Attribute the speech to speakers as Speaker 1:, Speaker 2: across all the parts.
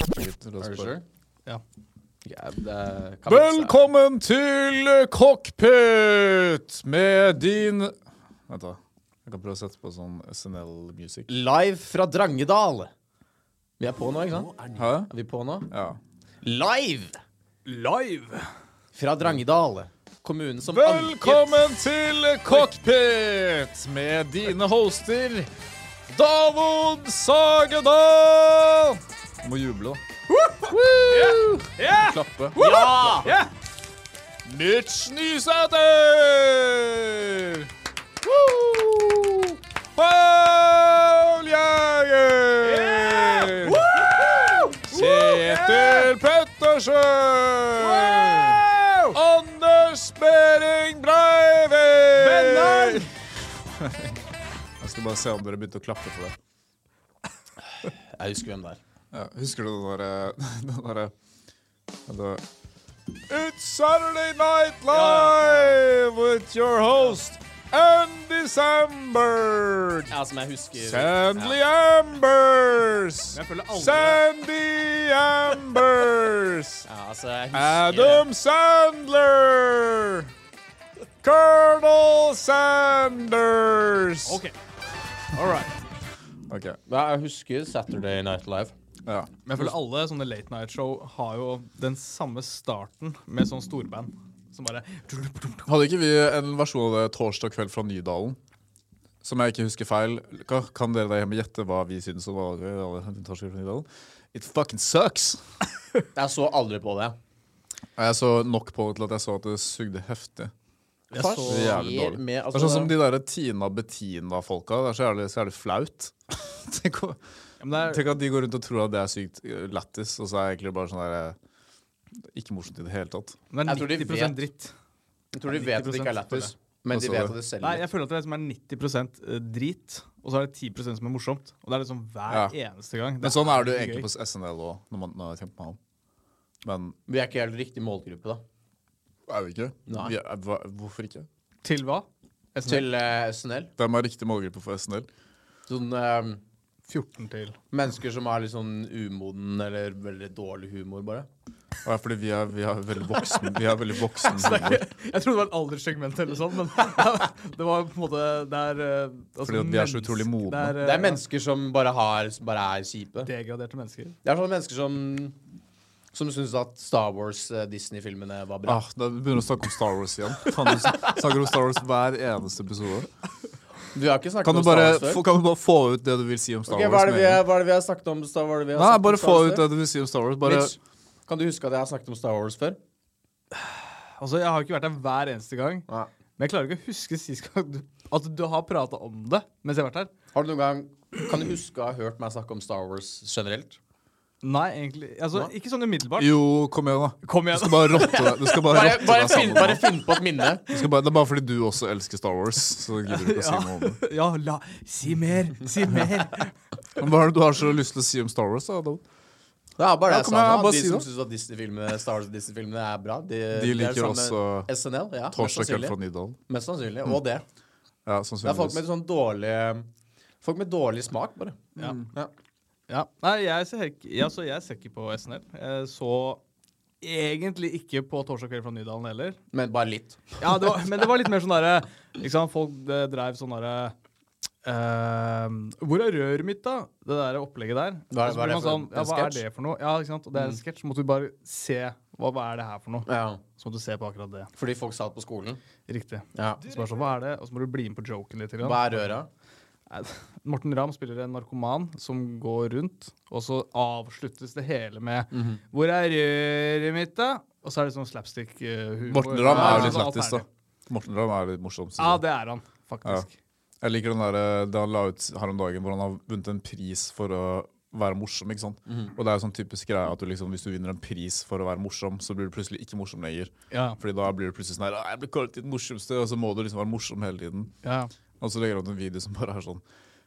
Speaker 1: Er du
Speaker 2: for.
Speaker 1: sure?
Speaker 2: Ja.
Speaker 1: Ja, det kan man ikke si.
Speaker 2: Velkommen til cockpit med din Vent, da. Jeg kan prøve å sette på sånn SNL-musikk.
Speaker 1: Live fra Drangedal. Vi er på nå, ikke sant?
Speaker 2: Hæ?
Speaker 1: Er vi på nå?
Speaker 2: Ja.
Speaker 1: Live
Speaker 2: Live!
Speaker 1: fra Drangedal. Kommunen som
Speaker 2: Velkommen til cockpit med dine hoster Davod Sagedal! Du må juble, da. Klappe.
Speaker 1: anket Ja!
Speaker 2: Mitch Nysæter! Woo! Paul Jæger! Kjetil Pettersen! Anders Behring Breivik! Jeg skal bare se om dere begynte å klappe for det.
Speaker 1: Jeg husker hvem det er.
Speaker 2: Ja, husker du den derre Den derre der, It's Saturday Night Live with your host Andy Samberg.
Speaker 1: Ja, som jeg husker.
Speaker 2: Sandy Ambers!
Speaker 3: Jeg føler aldri-
Speaker 2: Sandy Ambers!
Speaker 1: Ja, altså, jeg husker
Speaker 2: Adam Sandler! Colonel Sanders!
Speaker 3: OK. All right.
Speaker 2: Ok,
Speaker 1: Ja, jeg husker Saturday Night Live.
Speaker 2: ja.
Speaker 3: Men jeg føler alle sånne late night show har jo den samme starten med sånn storband. Som bare
Speaker 2: Hadde ikke vi en versjon av det torsdag kveld fra Nydalen? Som jeg ikke husker feil. Ka- Kan dere der hjemme gjette hva vi syns om alle- alle torsdag kveld fra Nydalen? It fucking sucks!
Speaker 1: Jeg så aldri på det.
Speaker 2: Jeg så nok på det til at jeg så at det sugde heftig.
Speaker 1: Jeg
Speaker 3: Fars-
Speaker 1: så
Speaker 2: Det er jævlig dårlig.
Speaker 1: Med, altså,
Speaker 2: det er sånn som de der Tina Bettina-folka. Det er så jævlig, så jævlig flaut. tenk, å,
Speaker 3: ja, men det er,
Speaker 2: tenk at de går rundt og tror at det er sykt eh, lættis, og så er det egentlig bare sånn der eh, Ikke morsomt i det hele tatt.
Speaker 3: men det
Speaker 1: Jeg tror de
Speaker 3: er 90
Speaker 1: vet.
Speaker 3: dritt.
Speaker 1: jeg tror de vet at det ikke er
Speaker 3: 90%
Speaker 1: lættis,
Speaker 3: for
Speaker 1: men
Speaker 2: Hva
Speaker 1: de
Speaker 2: sa du?
Speaker 1: vet at det selger.
Speaker 3: Nei, jeg føler at det er som er 90 drit, og så er det 10 som er morsomt. Og det er liksom hver eneste gang.
Speaker 2: Men sånn er det jo
Speaker 3: gøy.
Speaker 2: egentlig på SNL òg, når man når jeg tenker meg om. Men
Speaker 1: Vi er ikke helt riktig målgruppe, da.
Speaker 2: er vi ikke?
Speaker 1: Nei.
Speaker 2: Vi er, hva, hvorfor ikke?
Speaker 3: Til hva? SNL?
Speaker 1: Til eh, SNL.
Speaker 2: Hvem er riktig målgruppe for SNL?
Speaker 1: Sånn eh,
Speaker 3: 14 til.
Speaker 1: mennesker som er litt sånn umoden eller veldig dårlig humor, bare.
Speaker 2: Ja, fordi vi er, vi er veldig voksen. Vi er veldig voksen humor.
Speaker 3: Jeg trodde det var et alderssegment eller sånn, men det var på en måte Det er eh, altså,
Speaker 2: Fordi at vi er så
Speaker 3: mennesk-
Speaker 2: utrolig modne.
Speaker 3: eh,
Speaker 1: Det er mennesker som bare, har, som bare er kjipe.
Speaker 3: Degraderte mennesker.
Speaker 1: Det er sånne mennesker som Som syns at Star Wars, eh, Disney-filmene var bra.
Speaker 2: Ah, da begynner vi å snakke om Star Wars igjen. Faen, du snakker om Star Wars hver eneste episode.
Speaker 1: Du har ikke
Speaker 2: Ah.
Speaker 1: snakket
Speaker 2: Kan du,
Speaker 1: om
Speaker 2: bare,
Speaker 1: Star
Speaker 2: få-
Speaker 1: Wars før?
Speaker 2: kan du bare få ut det du vil si om Star
Speaker 1: Ok, hva,
Speaker 2: Wars?
Speaker 1: er det
Speaker 2: med
Speaker 1: vi,
Speaker 2: en gang?
Speaker 1: hva er det vi har snakket om Star Wars? Vi har
Speaker 2: Nei,
Speaker 1: snakket om
Speaker 2: bare
Speaker 1: Star Wars
Speaker 2: få ut
Speaker 1: før?
Speaker 2: det du vil si om Star Wars. Bare,
Speaker 1: Mitch, kan du huske at jeg har snakket om Star Wars før?
Speaker 3: Altså, Jeg har ikke vært der hver eneste gang,
Speaker 1: Nei.
Speaker 3: men jeg klarer ikke å huske sist gang du, at du har prata om det mens jeg har vært her.
Speaker 1: Har du noen gang Kan du huske å ha hørt meg snakke om Star Wars generelt?
Speaker 3: Nei, egentlig. Altså,
Speaker 1: Nei.
Speaker 3: Ikke sånn umiddelbart.
Speaker 2: jo, kom igjen, da.
Speaker 3: Kom
Speaker 2: Du skal
Speaker 3: igjen.
Speaker 2: bare rotte deg, du skal bare
Speaker 1: Bare,
Speaker 2: rotte
Speaker 1: bare,
Speaker 2: deg
Speaker 1: finn,
Speaker 2: sammen.
Speaker 1: bare
Speaker 2: nå.
Speaker 1: finn på et minne.
Speaker 2: Du skal bare, det er bare fordi du også elsker Star Wars. Så gidder du ikke å si noe om det.
Speaker 3: Ja, la Si mer! Si mer!
Speaker 2: Men Hva er det du har så lyst til å si om Star Wars? da? Adam?
Speaker 1: Ja, bare
Speaker 2: Ja,
Speaker 1: det jeg
Speaker 2: kom
Speaker 1: sa
Speaker 2: her,
Speaker 1: nå.
Speaker 2: bare
Speaker 1: De
Speaker 2: si
Speaker 1: som
Speaker 2: det.
Speaker 1: syns at Disney-filmene Star Wars og Disney-filmene er bra, de,
Speaker 2: De
Speaker 1: er det
Speaker 2: liker
Speaker 1: samme-
Speaker 2: også
Speaker 1: SNL, ja. Mest
Speaker 2: Torsdag kveld
Speaker 1: sannsynlig.
Speaker 2: fra Nydalen.
Speaker 1: Mest sannsynlig. Og det.
Speaker 2: Ja,
Speaker 1: Det er folk
Speaker 2: sannsynligvis.
Speaker 1: med sånn dårlig Folk med dårlig smak, bare. Mm.
Speaker 3: Ja.
Speaker 1: Ja.
Speaker 3: Ja. Nei, jeg ser, ikke- ja, så jeg ser ikke på SNL. Jeg så egentlig ikke på Torsdag kveld fra Nydalen heller.
Speaker 1: Men bare litt.
Speaker 3: Ja, det var, men det var litt mer sånn derre ikke sant, Folk eh, dreiv sånn derre ehm, Hvor er røret mitt, da? Det der opplegget der.
Speaker 1: Hva er- hva er
Speaker 3: Og så blir
Speaker 1: det
Speaker 3: man
Speaker 1: for
Speaker 3: sånn,
Speaker 1: en-
Speaker 3: ja,
Speaker 1: en
Speaker 3: hva er
Speaker 1: sketsj? Mm.
Speaker 3: det for noe? Ja, ikke sant? Og det er en sketsj. Måtte vi bare se hva, hva er det her for noe.
Speaker 1: Ja.
Speaker 3: Så måtte du se på akkurat det.
Speaker 1: Fordi folk satt på skolen.
Speaker 3: Riktig.
Speaker 1: Ja.
Speaker 3: Så bare sånn, hva er det? Og så må du bli med på joken litt. Grann.
Speaker 1: Hva er røra?
Speaker 3: Nei, Morten Ramm spiller en narkoman som går rundt, og så avsluttes det hele med
Speaker 1: Mhm.
Speaker 3: 'Hvor er røret mitt, da?' Og så er det sånn slapstick-humor.
Speaker 2: Morten Ramm er jo litt
Speaker 3: Ja, alt
Speaker 2: lættis, da.
Speaker 3: ferdig.
Speaker 2: Morten Ramm er litt morsom. synes
Speaker 3: Ja,
Speaker 2: jeg.
Speaker 3: det er han, faktisk.
Speaker 2: Jeg liker den der, det han la ut her om dagen, hvor han har vunnet en pris for å være morsom. ikke sant?
Speaker 3: Mhm.
Speaker 2: Og det er jo sånn typisk greie at du liksom, hvis du vinner en pris for å være morsom, så blir du plutselig ikke morsom lenger.
Speaker 3: Ja.
Speaker 2: Fordi da blir du plutselig sånn her «Å, Jeg ble kalt til den morsomste, og så må du liksom være morsom hele tiden.
Speaker 3: Ja.
Speaker 2: Og så legger han ut en video som bare er sånn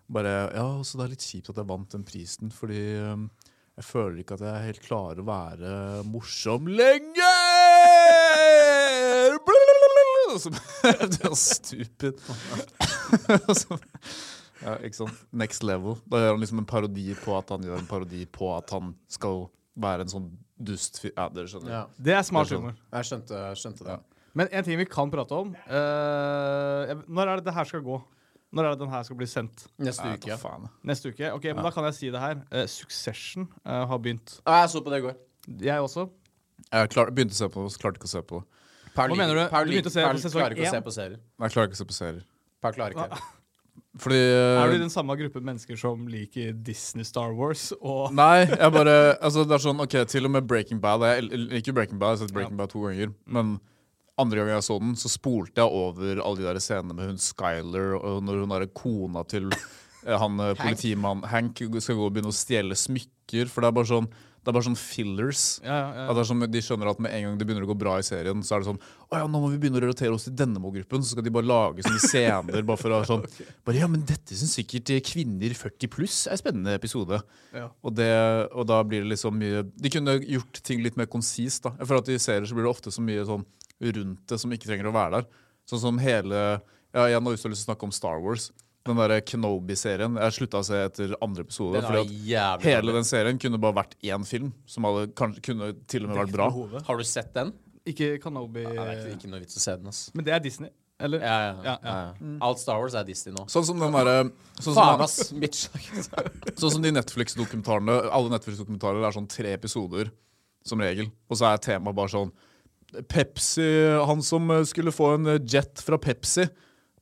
Speaker 2: bare, Ja, så det er litt kjipt at jeg vant den prisen, fordi um, jeg føler ikke at jeg helt klarer å være morsom lenger! Blablabla! Og så Det er stupid. Og så- ja, ikke sant? Next level. Da gjør han liksom en parodi på at han gjør en parodi på at han skal være en sånn dustfyr Ja, dere skjønner.
Speaker 1: Ja.
Speaker 3: Det er smart
Speaker 2: Det er sånn.
Speaker 3: humor.
Speaker 1: Jeg skjønte, skjønte det.
Speaker 3: Men en ting vi kan prate om eh, jeg- Når er det det her skal gå? Når er det den her skal bli sendt?
Speaker 1: Neste
Speaker 2: Nei,
Speaker 1: uke.
Speaker 2: ta faen.
Speaker 3: Neste uke? Ok, men Da kan jeg si det her. Eh, Succession eh, har begynt.
Speaker 1: Ja, jeg så på det i går.
Speaker 3: Jeg også.
Speaker 2: Jeg klar, begynte å se på det, så klarte ikke å se på det.
Speaker 1: Paul
Speaker 3: Hva mener du?
Speaker 1: Paul
Speaker 3: Du begynte å se
Speaker 1: Paul
Speaker 3: sesong
Speaker 1: klarer ikke
Speaker 3: én?
Speaker 1: å se på serier.
Speaker 2: Nei, Jeg klarer ikke å se på serier.
Speaker 1: Paul klarer ikke det.
Speaker 2: Fordi
Speaker 3: Er du i den samme gruppen mennesker som liker Disney, Star Wars og
Speaker 2: Nei, jeg bare Altså, det er sånn, ok, til og med Breaking Bad Jeg el- liker Breaking Bad, jeg har sett Breaking Bad to ganger. Men andre gangen jeg så den, så spolte jeg over alle de der scenene med hun Skyler, og når hun er kona til eh, han eh, politimannen Hank skal gå og begynne å stjele smykker, for det er bare sånn det er bare sånn fillers.
Speaker 3: Ja, ja, ja.
Speaker 2: At det er sånn, de skjønner at med en gang det begynner å gå bra i serien, så er det sånn Å ja, nå må vi begynne å relatere oss til denne målgruppen. Så skal de bare lage sånne scener bare for å ha sånn bare, Ja, men dette syns sikkert eh, kvinner 40 pluss er en spennende episode.
Speaker 3: Ja.
Speaker 2: Og, det, og da blir det liksom mye De kunne gjort ting litt mer konsist. da. Jeg føler at I serier så blir det ofte så mye sånn rundt det som ikke trenger å være der. Sånn som hele ja, Jeg har også lyst til å snakke om Star Wars. Den derre Kenobi-serien. Jeg slutta å se etter andre episode.
Speaker 1: Den er
Speaker 2: fordi at
Speaker 1: jævlig
Speaker 2: Hele
Speaker 1: dårlig.
Speaker 2: den serien kunne bare vært én film, som hadde kanskje, kunne til og med vært bra.
Speaker 3: Behovet.
Speaker 1: Har du sett den?
Speaker 3: Ikke Kanobi
Speaker 1: Nei, det er ikke- ikke noe vits å se den, ass.
Speaker 3: Men det er Disney, eller?
Speaker 1: Ja, ja, ja.
Speaker 3: Ja, ja.
Speaker 1: Mm. Alt Star Wars er Disney nå.
Speaker 2: Sånn som den derre sånn,
Speaker 1: Faen,
Speaker 2: som-
Speaker 1: ass! Bitch.
Speaker 2: sånn som de Netflix-dokumentarene. Alle Netflix-dokumentarer er sånn tre episoder som regel, og så er temaet bare sånn Pepsi Han som eh, skulle få en eh, jet fra Pepsi.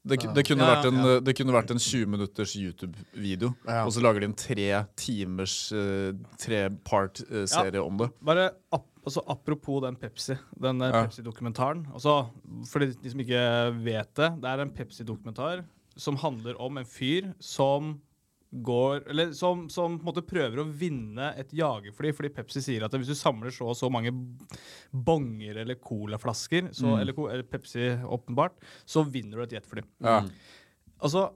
Speaker 2: Det, ku- det, kunne,
Speaker 3: Ja, ja,
Speaker 2: vært en,
Speaker 3: ja.
Speaker 2: eh, det kunne vært en 20 minutters YouTube-video,
Speaker 1: Ja.
Speaker 2: og så lager de en tre timers, eh, trepart-serie om det.
Speaker 3: Bare ap altså, apropos den Pepsi, den eh,
Speaker 2: Ja.
Speaker 3: Pepsi-dokumentaren. Altså, for de, de som ikke vet det, det er en Pepsi-dokumentar som handler om en fyr som går Eller som, som på en måte prøver å vinne et jagerfly, fordi Pepsi sier at hvis du samler så og så mange bonger eller colaflasker,
Speaker 2: Mm.
Speaker 3: så, eller, co- eller Pepsi åpenbart, så vinner du et jetfly.
Speaker 2: Ja.
Speaker 3: Altså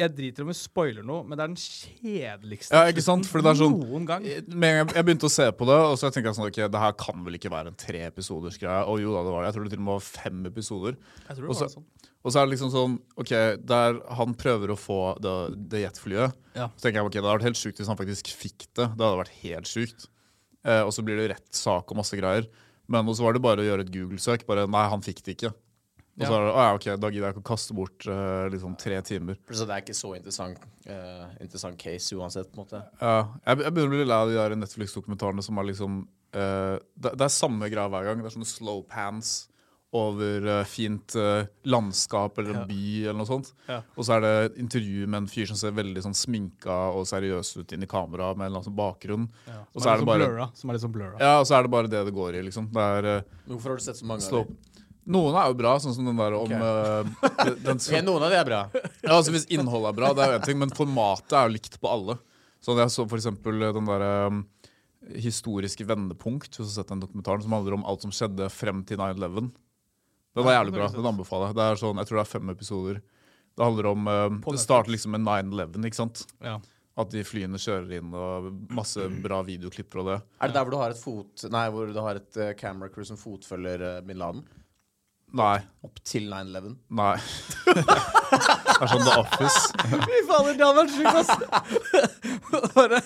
Speaker 3: jeg driter om vi spoiler noe, men det er den kjedeligste
Speaker 2: Ja, ikke sant? Fordi det er sånn-
Speaker 3: noen gang.
Speaker 2: Med en gang jeg begynte å se på det, og så tenkte jeg sånn, ok, det her kan vel ikke være en tre episoders greie. Og jo da, det var det. Jeg tror det til og med var fem episoder.
Speaker 3: Jeg tror det
Speaker 2: Og så-
Speaker 3: var sånn.
Speaker 2: Og så er det liksom sånn, ok, der han prøver å få det, det jetflyet,
Speaker 3: Ja.
Speaker 2: så tenker jeg, ok, det hadde vært helt sykt hvis han faktisk fikk det. Det hadde vært helt sykt. Eh, og så blir det rettssak og masse greier. Men og så var det bare å gjøre et Google-søk. Bare, nei, han fikk det ikke. Og så
Speaker 3: Ja.
Speaker 2: er det, å ja, ok, da gidder jeg ikke å kaste bort eh, liksom tre timer.
Speaker 1: Så det er ikke så interessant, eh, interessant case uansett, på en måte.
Speaker 2: Ja, jeg, jeg begynner å bli lei av de der Netflix-dokumentarene som er liksom eh, det, det er samme greia hver gang. Det er sånne slow pants over eh, fint eh, landskap eller en
Speaker 3: Ja.
Speaker 2: by eller noe sånt.
Speaker 3: Ja.
Speaker 2: Og så er det et intervju med en fyr som ser veldig sånn sminka og seriøs ut inn i kamera med en eller annen sånn bakgrunn.
Speaker 3: Ja,
Speaker 2: Og så er det bare
Speaker 3: Som er liksom blurra.
Speaker 2: Ja, og så er det bare det det går i, liksom. Det er eh,
Speaker 1: Men Hvorfor har du sett så mange
Speaker 2: slow
Speaker 1: av dem?
Speaker 2: Noen er jo bra, sånn som den der om
Speaker 1: Ok.
Speaker 2: eh, den- den,
Speaker 1: Ok, noen av de er bra.
Speaker 2: Ja, altså Hvis innholdet er bra, det er jo en ting, men formatet er jo likt på alle. Så Jeg så for eksempel den der um, historiske vendepunkt, hvis du har sett den dokumentaren, som handler om alt som skjedde frem til 9-11. Den er
Speaker 3: Ja,
Speaker 2: jævlig
Speaker 3: den har
Speaker 2: bra.
Speaker 3: jeg sett.
Speaker 2: Den anbefaler jeg. Det er sånn, Jeg tror det er fem episoder. Det handler om um,
Speaker 3: På
Speaker 2: Det
Speaker 3: Netflix.
Speaker 2: starter liksom med 9-11, ikke sant?
Speaker 3: Ja.
Speaker 2: At de flyene kjører inn, og masse bra videoklipp fra det.
Speaker 1: Er det der hvor du har et fot... Nei, hvor du har et eh, camera crew som fotfølger eh, bin Laden?
Speaker 2: Nei.
Speaker 1: Opp til 9-11?
Speaker 2: Nei. det er sånn The Office.
Speaker 3: Fy fader, det hadde vært sjukt, ass! Bare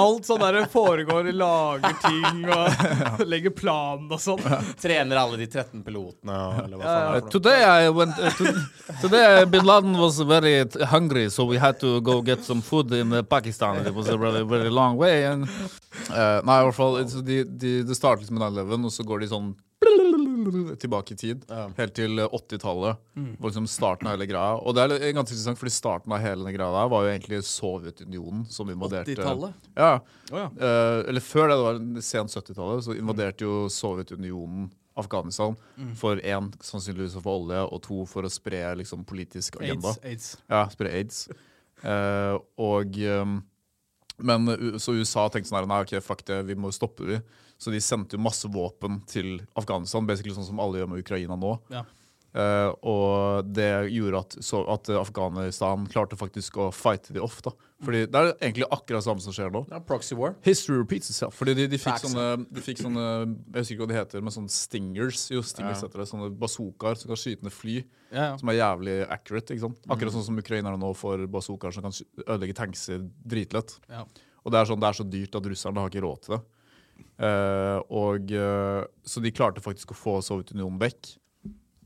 Speaker 3: Alt sånn der foregår, lager ting og legger planen og sånn.
Speaker 1: Trener alle de 13 pilotene og eller hva
Speaker 3: Ja,
Speaker 1: faen
Speaker 3: ja.
Speaker 1: er det for noe?
Speaker 4: Today I went. Uh, to, today Bin Laden was very t- hungry, so we had to go get some food in uh, Pakistan. It was a really very long way, and
Speaker 2: Eh, nei, i hvert fall så de, de, Det starter liksom med 9-11, og så går de sånn tilbake i tid.
Speaker 1: Ja. Mm.
Speaker 2: Helt til eh, 80-tallet. hvor Liksom starten av hele greia. Og det er litt- ganske interessant, fordi starten av hele den greia der var jo egentlig Sovjetunionen som invaderte
Speaker 1: 80-tallet?
Speaker 2: Ja.
Speaker 3: Å ja.
Speaker 2: Eh, eller før det, det var sent 70-tallet, så invaderte jo Sovjetunionen Afghanistan.
Speaker 3: Mm.
Speaker 2: For én, sannsynligvis å få olje, og to, for å spre liksom politisk agenda.
Speaker 3: Aids. aids.
Speaker 2: Ja, spre aids. Eh, og ehm, Men U- så USA tenkte sånn her Nei, ok, fuck det, vi må stoppe de. Så de sendte jo masse våpen til Afghanistan, basically sånn som alle gjør med Ukraina nå.
Speaker 3: Ja.
Speaker 2: Eh, og det gjorde at, så, at Afghanistan klarte faktisk å fighte de off. da Fordi det er egentlig akkurat samme som skjer nå.
Speaker 1: Ja, Proxy War.
Speaker 2: History repeats itself. Fordi de, de fikk
Speaker 1: Facts.
Speaker 2: sånne, de fikk sånne Jeg husker ikke hva de heter, men sånne stingers. Jo, stingers
Speaker 1: Ja.
Speaker 2: heter det. Sånne bazookaer som kan skyte ned fly
Speaker 3: Ja, ja.
Speaker 2: som er jævlig accurate. ikke sant? Akkurat sånn som ukrainerne nå får bazookaer som kan sky- ødelegge tankser dritlett.
Speaker 3: ja.
Speaker 2: Og det er sånn, det er så dyrt at russerne har ikke råd til det. Eh, og, eh, så de klarte faktisk å få Sovjetunionen vekk.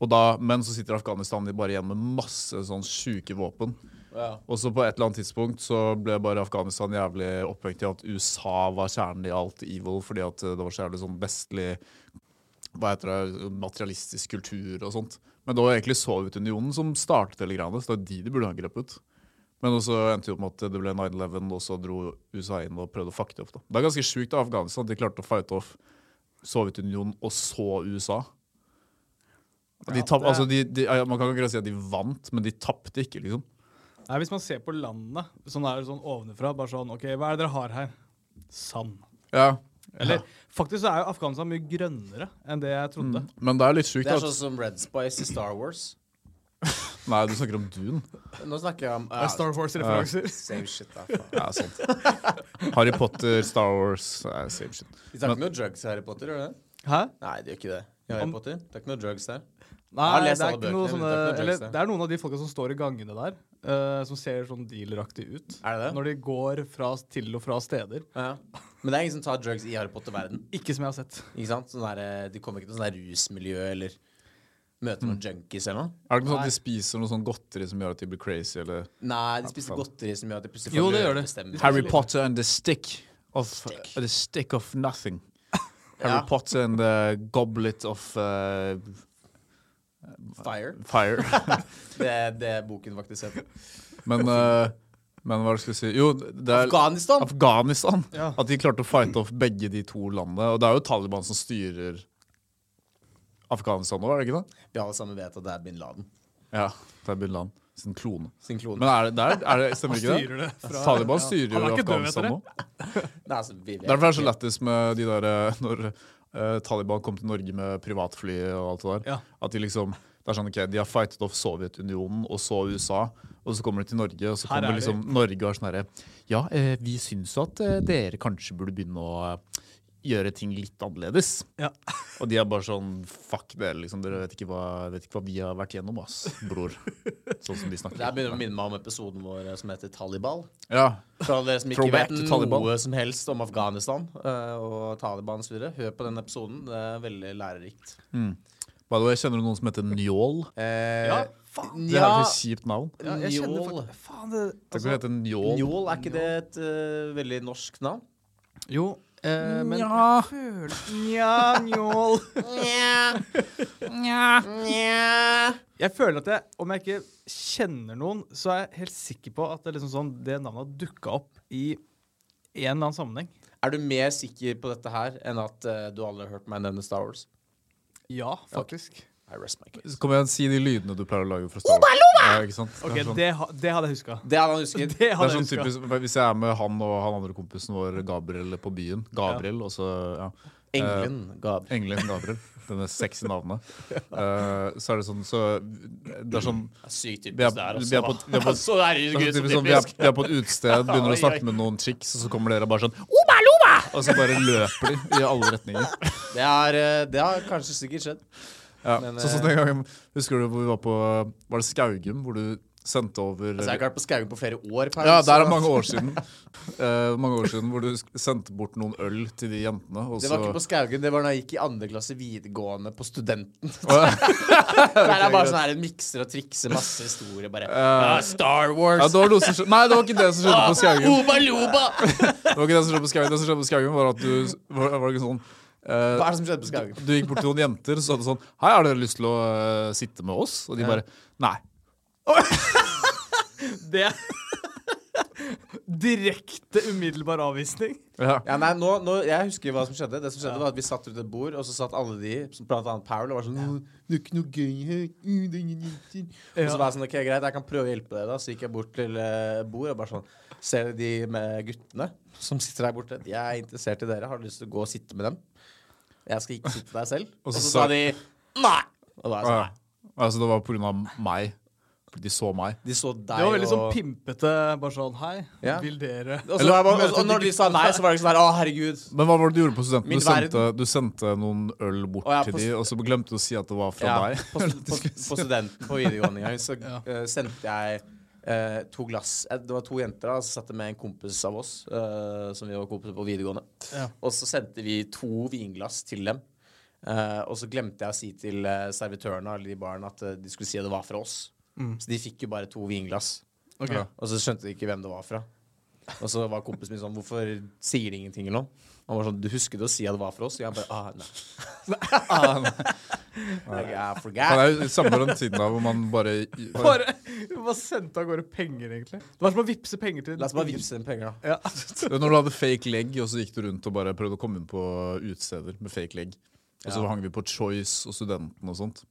Speaker 2: Og da, men så sitter Afghanistan de bare igjen med masse sånn sjuke våpen.
Speaker 1: Ja.
Speaker 2: Og så på et eller annet tidspunkt så ble bare Afghanistan jævlig opphengt i at USA var kjernen i alt evil, fordi at eh, det var så jævlig sånn vestlig hva heter det, materialistisk kultur og sånt. Men det var egentlig Sovjetunionen som startet hele greiene, så det var de de burde ha grepet. Men også endte jo opp med at det ble 9-11, og så dro USA inn og prøvde å fucke det opp. da. Det er ganske sjukt av Afghanistan at de klarte å fighte off Sovjetunionen og så USA. De tapp,
Speaker 3: det-
Speaker 2: altså de, de, ja, man kan ikke si at de vant, men de tapte ikke, liksom.
Speaker 3: Nei, Hvis man ser på landene sånn er det sånn ovenfra bare sånn, ok, Hva er det dere har her? Sand.
Speaker 2: Ja,
Speaker 3: Eller faktisk så er jo Afghanistan mye grønnere enn det jeg trodde.
Speaker 2: Men det er litt sjukt
Speaker 1: Det er
Speaker 2: at
Speaker 1: sånn som Red Spice i Star Wars.
Speaker 2: Nei, du snakker om Dune.
Speaker 1: Nå snakker jeg om
Speaker 3: Det er Star Wars-referanser.
Speaker 1: Same shit, da. faen.
Speaker 2: Ja, sant. Harry Potter, Star Wars eh, Same shit.
Speaker 1: Vi snakker ikke noe drugs i Harry Potter, gjør det?
Speaker 3: Hæ?
Speaker 1: Nei, det gjør ikke det. I Harry
Speaker 3: Om-
Speaker 1: Potter. Det er ikke noe drugs der.
Speaker 3: Nei,
Speaker 1: har
Speaker 3: det
Speaker 1: lest
Speaker 3: er,
Speaker 1: alle
Speaker 3: ikke noe
Speaker 1: bøkene,
Speaker 3: sånne,
Speaker 1: men det er ikke noe
Speaker 3: eller,
Speaker 1: drugs der.
Speaker 3: det er noen av de folka som står i gangene der, eh, som ser sånn dealeraktig ut.
Speaker 1: Er det det?
Speaker 3: Når de går fra, til og fra steder.
Speaker 1: Ja. Men det er ingen som tar drugs i Harry Potter-verden.
Speaker 3: Ikke som jeg har sett.
Speaker 1: Ikke sant? Sånn der, eh, de kommer ikke til sånn der rusmiljø eller
Speaker 2: Mm.
Speaker 1: møter noen junkies eller noe.
Speaker 2: Er det ikke sånn at de spiser noe sånn godteri som gjør at de blir crazy, eller
Speaker 1: Nei, de spiser godteri som gjør at de plutselig
Speaker 5: Jo, det gjør de.
Speaker 1: løvbestemmelser.
Speaker 2: Potter and the stick of The stick of nothing. Harry
Speaker 1: Ja.
Speaker 2: Potter and the goblet of eh,
Speaker 1: Fire.
Speaker 2: fire.
Speaker 1: Det er det er boken faktisk heter.
Speaker 2: Men, eh, men hva er det jeg skulle si Jo, det er
Speaker 1: Afghanistan!
Speaker 2: Afghanistan.
Speaker 3: Ja.
Speaker 2: At de klarte å fighte off begge de to landene. Og det er jo Taliban som styrer Afghanistan nå, er det ikke det?
Speaker 1: Vi alle sammen vet at det er bin Laden
Speaker 2: Ja, det er Bin Laden sin klone.
Speaker 1: sin klone.
Speaker 2: Men er det, der, er det, stemmer ikke det?
Speaker 3: Styrer det fra
Speaker 2: Taliban styrer
Speaker 3: Han
Speaker 2: jo
Speaker 3: er ikke død, vet
Speaker 2: Afghanistan
Speaker 3: dere.
Speaker 2: nå.
Speaker 1: Det er altså, vi vet.
Speaker 2: Derfor er det så lættis med de der eh, Når eh, Taliban kom til Norge med privatfly og alt det der.
Speaker 3: Ja.
Speaker 2: At de liksom det er sånn, ok, De har fightet off Sovjetunionen og så USA, og så kommer de til Norge. Og så
Speaker 3: Her
Speaker 2: kommer
Speaker 3: er de.
Speaker 2: liksom Norge og er sånn herre Ja, eh, vi syns jo at eh, dere kanskje burde begynne å eh, gjøre ting litt annerledes.
Speaker 3: Ja.
Speaker 2: Og de er bare sånn Fuck dere, liksom. Dere vet ikke hva, vet ikke hva vi har vært gjennom, ass, bror. Sånn som de snakker.
Speaker 1: Det her begynner å minne meg om episoden vår eh, som heter Talibal.
Speaker 2: Ja,
Speaker 1: For alle dere som ikke
Speaker 2: Throwback
Speaker 1: vet
Speaker 2: to Taliban.
Speaker 1: noe som helst om Afghanistan eh, og Taliban osv., hør på den episoden. Det er veldig lærerikt.
Speaker 2: By the way, kjenner du noen som heter Njål?
Speaker 1: Eh,
Speaker 3: Ja, faen!
Speaker 2: Det er
Speaker 1: Ja.
Speaker 2: et sykt navn.
Speaker 3: Ja, jeg kjenner
Speaker 1: Njål.
Speaker 3: faktisk Faen, det altså-
Speaker 2: Tenk om det heter Njål.
Speaker 1: Njål, er ikke det et eh, veldig norsk navn?
Speaker 3: Jo, eh, men
Speaker 5: Nja.
Speaker 3: jeg føler Nja, njål. Jeg føler at jeg, om jeg ikke kjenner noen, så er jeg helt sikker på at det, er liksom sånn, det navnet har dukka opp i en eller annen sammenheng.
Speaker 1: Er du mer sikker på dette her enn at eh, du aldri har hørt meg nevne Star Wars?
Speaker 3: Ja, faktisk.
Speaker 1: I rest my case.
Speaker 2: Så Kom igjen, si de lydene du pleier å lage fra Star Wars. Ja, ikke sant?
Speaker 3: Ok,
Speaker 2: det er sånn,
Speaker 3: det, ha- det hadde jeg huska.
Speaker 1: Det hadde han husket.
Speaker 3: Det
Speaker 2: det er
Speaker 3: hadde jeg
Speaker 2: sånn
Speaker 3: husket.
Speaker 2: typisk, Hvis jeg er med han og han andre kompisen vår, Gabriel, på byen Gabriel, og så ja.
Speaker 1: Engelen ga
Speaker 2: Engelen Gabriel. Denne sexy navnet. Eh, så er det sånn så, Det er sånn
Speaker 1: Det er Sykt
Speaker 2: Vi er-
Speaker 1: typisk der
Speaker 2: vi er på- vi er på-
Speaker 1: også. Så er
Speaker 2: det er
Speaker 1: det gud
Speaker 2: sånn
Speaker 1: så
Speaker 2: typisk sånn, vi, er,
Speaker 1: typisk.
Speaker 2: vi er på et utested, begynner å snakke med noen chicks, og så kommer dere bare sånn Oba, loba! Og så bare løper de i alle retninger.
Speaker 1: Det, er, eh, det har kanskje sikkert skjedd.
Speaker 2: Ja,
Speaker 1: Men,
Speaker 2: så, sånn den gangen, Husker du hvor vi var på Var det Skaugum, hvor du sendte over
Speaker 1: Altså, jeg har ikke vært på Skaugum på flere år. Per,
Speaker 2: Ja,
Speaker 1: så-
Speaker 2: der er mange år siden. Eh, mange år siden Hvor du sk- sendte bort noen øl til de jentene. Og
Speaker 1: Det var ikke på
Speaker 2: så,
Speaker 1: Skaugum, det var da jeg gikk i andre klasse videregående på Studenten.
Speaker 2: Å,
Speaker 1: Der er bare sånn her en mikser og trikser masse historier, bare.
Speaker 2: ja.
Speaker 1: Ah, Star
Speaker 2: ja,
Speaker 1: Wars!
Speaker 2: det var noe som skjedde Nei, det var ikke det som skjedde på Skaugum.
Speaker 1: Oba loba!
Speaker 2: Det var ikke det som skjedde på Skaugum. Det som skjedde på Skaugum var at du s- var, var det ikke sånn eh,
Speaker 1: Hva er det som skjedde på Skaugum?
Speaker 2: Du gikk bort til noen jenter og sa sånn Hei, har dere lyst til å eh, sitte med oss? Og de bare Nei.
Speaker 3: Det Direkte umiddelbar avvisning.
Speaker 2: Ja.
Speaker 1: Ja, nei, nå, nå, jeg husker hva som skjedde. Det som skjedde var at Vi satt rundt et bord, og så satt alle de, som blant annet Paul, og var sånn «Åh, Det er ikke noe gøy her. Uh, det er ingen jenter». Og så var jeg sånn OK, greit, jeg kan prøve å hjelpe deg, da. Så gikk jeg bort til eh, bord og bare sånn Ser du de med guttene som sitter der borte? Jeg er interessert i dere. Har du lyst til å gå og sitte med dem? Jeg skal ikke sitte der selv. Og så, sa de nei. Og da var jeg sånn,
Speaker 2: Ja. Altså, det var på grunn av meg. Fordi De så meg.
Speaker 1: nei. De så deg
Speaker 3: Det var veldig sånn
Speaker 1: og
Speaker 3: pimpete. Bare sånn Hei,
Speaker 1: Ja.
Speaker 3: vil dere
Speaker 1: og, så var jeg bare, og, og når altså, de sa nei, så var det ikke sånn her Å, herregud.
Speaker 2: Men hva var det du gjorde på studenten?
Speaker 1: Min
Speaker 2: Du sendte, du sendte noen øl bort
Speaker 1: Å, ja,
Speaker 2: til
Speaker 1: på
Speaker 2: de,
Speaker 1: stu-
Speaker 2: og så glemte du å si at det var fra
Speaker 1: Ja,
Speaker 2: deg.
Speaker 1: På, stu- på, på studenten på videregående en gang så
Speaker 3: Ja.
Speaker 1: eh, sendte jeg eh, to glass eh, Det var to jenter da, som satt med en kompis av oss, eh, som vi var kompiser på videregående.
Speaker 3: Ja.
Speaker 1: Og så sendte vi to vinglass til dem. Eh, og så glemte jeg å si til eh, servitørene eller de baren at eh, de skulle si at det var fra oss.
Speaker 2: Mm.
Speaker 1: Så de fikk jo bare to vinglass.
Speaker 3: Ok.
Speaker 1: Ja. Og så skjønte de ikke hvem det var fra. Og så var kompisen min sånn Hvorfor sier de ingenting eller noe? Han var sånn Du husket å si at det var fra oss? Og jeg bare Ah, nei. Jeg, I
Speaker 2: Ah, Han
Speaker 1: forgot.
Speaker 2: er jo i samme rundt siden av hvor man bare
Speaker 3: Bare, bare sendte av gårde penger, egentlig. Det var som å vippse penger til
Speaker 1: La oss bare vippse den penger, da.
Speaker 3: Ja.
Speaker 2: Når du hadde fake leg, og så gikk du rundt og bare prøvde å komme inn på utesteder med fake leg. Og så
Speaker 1: Ja.
Speaker 2: hang vi på Choice og Studenten og sånt.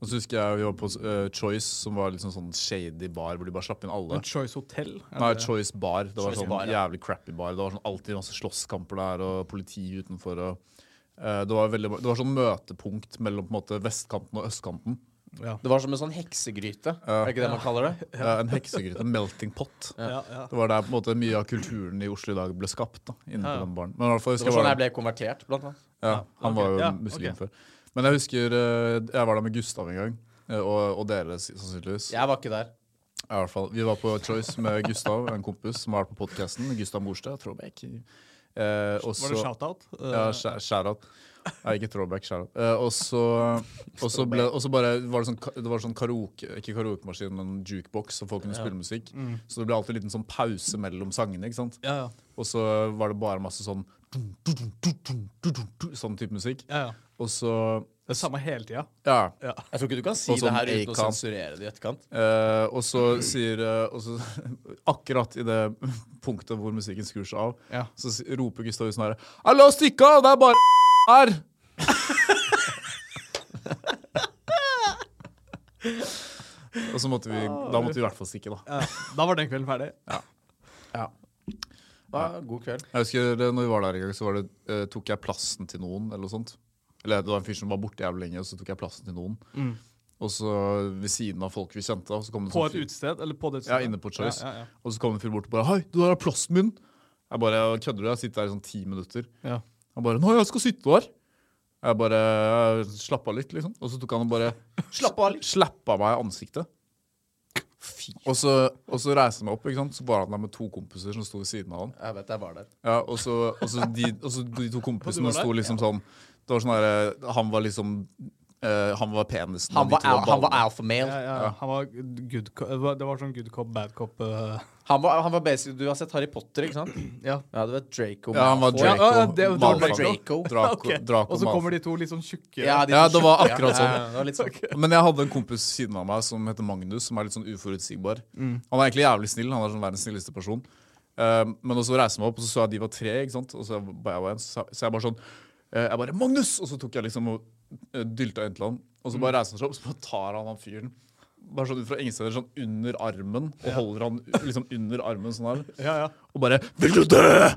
Speaker 2: Og så husker jeg vi var på eh, Choice, som var liksom sånn shady bar hvor de bare slapp inn alle.
Speaker 3: Men Choice Hotel er
Speaker 2: Nei,
Speaker 3: det-
Speaker 2: Choice Bar. Det var
Speaker 1: Choice
Speaker 2: sånn
Speaker 1: Bar, ja.
Speaker 2: jævlig crappy bar. Det var sånn alltid masse slåsskamper der, og politi utenfor. Og, eh, det, var veldig, det var sånn møtepunkt mellom på en måte, vestkanten og østkanten.
Speaker 3: ja.
Speaker 1: Det var som en sånn heksegryte. Er det ikke det man kaller det?
Speaker 2: Eh, en heksegryte. En melting pot.
Speaker 3: Ja, ja.
Speaker 2: Det var der på en måte mye av kulturen i Oslo i dag ble skapt. da, inne på
Speaker 3: Ja, ja.
Speaker 2: den baren. Men i hvert fall
Speaker 1: Det
Speaker 2: husker jeg
Speaker 1: var sånn
Speaker 2: var
Speaker 1: jeg ble konvertert, blant annet.
Speaker 2: Ja, han
Speaker 3: ok.
Speaker 2: var jo
Speaker 3: Ja,
Speaker 2: muslim
Speaker 3: ok.
Speaker 2: før. Men jeg husker eh, jeg var der med Gustav en gang, eh, og, og dere s- sannsynligvis.
Speaker 1: Jeg var ikke der.
Speaker 2: I hvert fall. Vi var på Choice med Gustav, en kompis som har vært på podkasten. Gustav Morstad, Tråbekk. Eh, og
Speaker 3: Var det
Speaker 2: så-
Speaker 3: shout-out? Eh,
Speaker 2: Ja, skjæ- skjærat. Nei, ikke throwback, skjærat. Eh, og så og så ble- og så bare var det sånn, ka- det var sånn karaoke, ikke karaokemaskin, men jukebox, så folk kunne spille musikk. Så det ble alltid en liten sånn pause mellom sangene. ikke sant?
Speaker 3: ja, ja.
Speaker 2: Og så var det bare masse sånn Sånn type musikk.
Speaker 3: ja, ja.
Speaker 2: Og så
Speaker 3: Det er samme hele tida.
Speaker 2: Ja.
Speaker 1: Jeg tror ikke du kan si
Speaker 2: Og sånn
Speaker 1: det her uten å
Speaker 2: Acon.
Speaker 1: sensurere det i etterkant.
Speaker 2: Eh, og så sier eh, og så, Akkurat i det punktet hvor musikken skrur seg av,
Speaker 3: Ja.
Speaker 2: så si- roper Gustav ut sånn her «Ja, La oss stikke av! Det er bare her! og så måtte vi Da måtte vi i hvert fall stikke, da.
Speaker 3: Ja. Da var den kvelden ferdig.
Speaker 1: Ja. Ja, god kveld.
Speaker 2: Jeg husker eh, når vi var der en gang, så var det, eh, tok jeg plassen til noen, eller noe sånt. Eller det var en fyr som var borte jævlig lenge, og så tok jeg plassen til noen. Og så ved siden av folk vi kjente. da, Så kom det en
Speaker 3: Mm. På
Speaker 2: sånn
Speaker 3: et
Speaker 2: fyr-
Speaker 3: utested? Eller på det
Speaker 2: Ja,
Speaker 3: utestedet?
Speaker 2: inne på Choice.
Speaker 3: Ja, ja, ja.
Speaker 2: Og så kommer en fyr bort og bare 'Hei, du der er plassen min'. Jeg bare «Ja, 'Kødder du?' Jeg sitter her i sånn ti minutter.
Speaker 3: Ja.
Speaker 2: Han bare 'Nei, jeg skal sitte der'. Jeg bare jeg slapp av litt, liksom. Og så tok han og bare
Speaker 1: Slapp av litt.
Speaker 2: slappa meg i ansiktet. Og så, og så reiste han meg opp, ikke sant? så var han der med to kompiser som sto ved siden av han.
Speaker 1: Jeg vet jeg var der.
Speaker 2: Ja, og så, og så, de, og så de to kompisene
Speaker 3: Og du var
Speaker 2: sto
Speaker 3: der?
Speaker 2: liksom sånn Det var sånn herre Han var liksom eh, Han var penisen. og
Speaker 1: Han
Speaker 2: de
Speaker 1: var,
Speaker 2: to
Speaker 1: al- han var
Speaker 2: ballene.
Speaker 1: alpha
Speaker 3: Ja,
Speaker 1: male.
Speaker 3: ja. Han var good cop, det var- det var sånn good cop, bad cop eh,
Speaker 1: Han var, han var basically, Du har sett Harry Potter, ikke sant?
Speaker 3: Ja.
Speaker 1: Ja, du vet Draco.
Speaker 2: Ja, han var
Speaker 1: Malfoy.
Speaker 2: Draco.
Speaker 3: Ja, ja, det- det var
Speaker 2: Malfoy.
Speaker 1: Draco.
Speaker 2: Draco,
Speaker 3: Ok.
Speaker 2: Draco
Speaker 3: Og så
Speaker 2: Malfoy.
Speaker 3: kommer de to litt sånn tjukke
Speaker 1: Ja, de
Speaker 2: Ja,
Speaker 1: som
Speaker 2: det var
Speaker 1: skjønte,
Speaker 2: akkurat
Speaker 1: ja.
Speaker 2: sånn.
Speaker 1: Ja, ja, det var litt sånn.
Speaker 2: Men jeg hadde en kompis siden av meg som heter Magnus, som er litt sånn uforutsigbar. Han er egentlig jævlig snill. Han er sånn verdens snilleste person. Um, men så reiste jeg meg opp, og så så jeg de var tre, ikke sant? og så jeg, bare jeg var en, så, så jeg bare sånn eh, Jeg bare 'Magnus!' Og så tok jeg liksom og eh, dylta inn til han. Og så bare reiser han seg opp, så bare tar han han fyren. Bare sånn ut fra ingen steder, sånn under armen, og holder han liksom under armen sånn her.
Speaker 3: Ja, ja.
Speaker 2: Og bare 'Vil du dø?'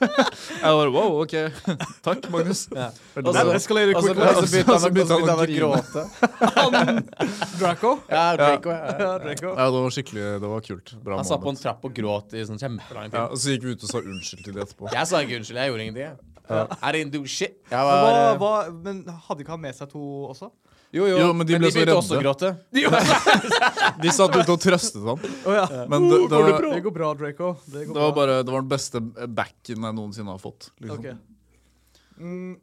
Speaker 2: jeg bare wow, OK. Takk, Magnus. Veldig
Speaker 1: Og så-
Speaker 2: bra.
Speaker 3: That escalated
Speaker 1: Og så
Speaker 3: quickly.
Speaker 1: og så begynte han å-
Speaker 2: Så begynte han å
Speaker 1: begynte han å
Speaker 2: grine.
Speaker 1: gråte.
Speaker 3: Draco.
Speaker 1: Ja, Draco. Ja. ja.
Speaker 3: Ja, Draco.
Speaker 2: Ja, det var skikkelig, det var kult. Bra
Speaker 1: Han satt på
Speaker 2: moment.
Speaker 1: en trapp og gråt i sånn kjempelang
Speaker 2: ja,
Speaker 1: tid.
Speaker 2: og så gikk vi ut og sa unnskyld til de etterpå.
Speaker 1: Jeg sa ikke unnskyld, jeg gjorde ingenting. jeg. I didn't do shit. Jeg
Speaker 3: Hva,
Speaker 1: var eh,
Speaker 3: hva, men hadde ikke han med seg to også?
Speaker 1: Jo, jo,
Speaker 2: Jo, men de ble så
Speaker 1: begynte
Speaker 2: redde.
Speaker 1: også å gråte.
Speaker 2: De satt ute og trøstet ham.
Speaker 3: Å ja.
Speaker 2: Men det, det, var,
Speaker 3: Det Uh, går bra, Draco. Det går
Speaker 2: det var
Speaker 3: bra.
Speaker 2: bare det var den beste backen jeg noensinne har fått. Liksom.
Speaker 3: Ok. Mm.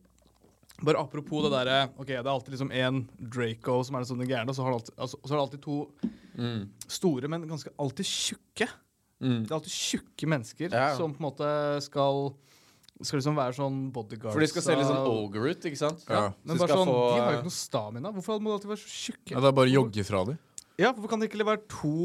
Speaker 3: Bare apropos det derre Ok, det er alltid liksom én Draco som er den sånne gærne, og så, har det alltid, altså, så er det alltid to
Speaker 1: Mm.
Speaker 3: store, men ganske alltid tjukke. Det er alltid tjukke mennesker
Speaker 1: Ja.
Speaker 3: som på en måte skal Skal liksom være sånn bodyguards
Speaker 1: For de skal se litt sånn
Speaker 3: av-
Speaker 1: ogre ut, ikke sant?
Speaker 2: Ja.
Speaker 1: Så
Speaker 3: Men
Speaker 1: de
Speaker 3: bare
Speaker 1: skal
Speaker 3: sånn,
Speaker 1: få, eh,
Speaker 3: de har jo ikke noe stamina. Hvorfor må de alltid være så tjukke?
Speaker 2: Ja, det er bare å jogge fra dem.
Speaker 3: Ja, hvorfor kan det ikke være to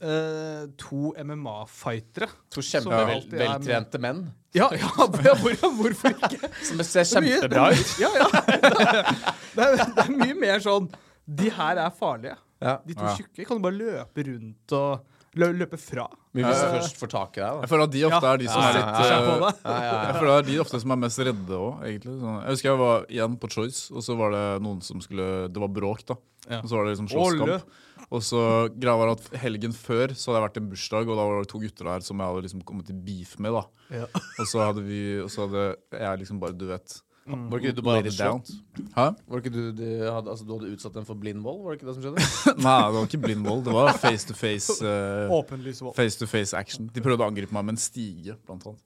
Speaker 3: eh, to MMA-fightere?
Speaker 1: To
Speaker 3: Som alltid er med.
Speaker 1: kjempeveltrente menn
Speaker 3: Ja, ja, hvor, hvorfor ikke?
Speaker 1: som ser
Speaker 3: Det er mye-
Speaker 1: kjempebra ut.
Speaker 3: Ja, ja. Det er, det er mye mer sånn De her er farlige.
Speaker 1: Ja.
Speaker 3: De to
Speaker 2: Ja.
Speaker 3: tjukke kan du bare løpe rundt og lø løpe fra.
Speaker 1: Men hvis du først får tak i deg, da.
Speaker 2: Jeg føler at de ofte
Speaker 3: Ja.
Speaker 2: er de som
Speaker 1: Ja,
Speaker 2: er
Speaker 1: ja,
Speaker 2: litt
Speaker 3: Kjær på
Speaker 2: eh,
Speaker 3: deg.
Speaker 1: Ja, ja, ja.
Speaker 2: jeg føler det er de ofte som er mest redde òg, egentlig. Sånn, Jeg husker jeg var igjen på Choice, og så var det noen som skulle Det var bråk, da.
Speaker 3: Ja.
Speaker 2: Og så var det liksom
Speaker 3: Olle.
Speaker 2: slåsskamp. Og så greia var at helgen før så hadde jeg vært i en bursdag, og da var det to gutter der som jeg hadde liksom kommet i beef med, da.
Speaker 3: Ja.
Speaker 2: Og så hadde vi Og så hadde jeg liksom bare, du vet
Speaker 1: Var ikke det du bare
Speaker 2: Let
Speaker 1: hadde
Speaker 2: it down.
Speaker 1: slått?
Speaker 2: Hæ?
Speaker 1: Var ikke du, du, hadde, altså, du hadde utsatt dem for blind vold? Var det ikke det som skjedde?
Speaker 2: Nei, det var ikke blind vold. Det var face to face eh,
Speaker 3: Åpenlys vold.
Speaker 2: Face to face action. De prøvde å angripe meg med en stige, blant annet.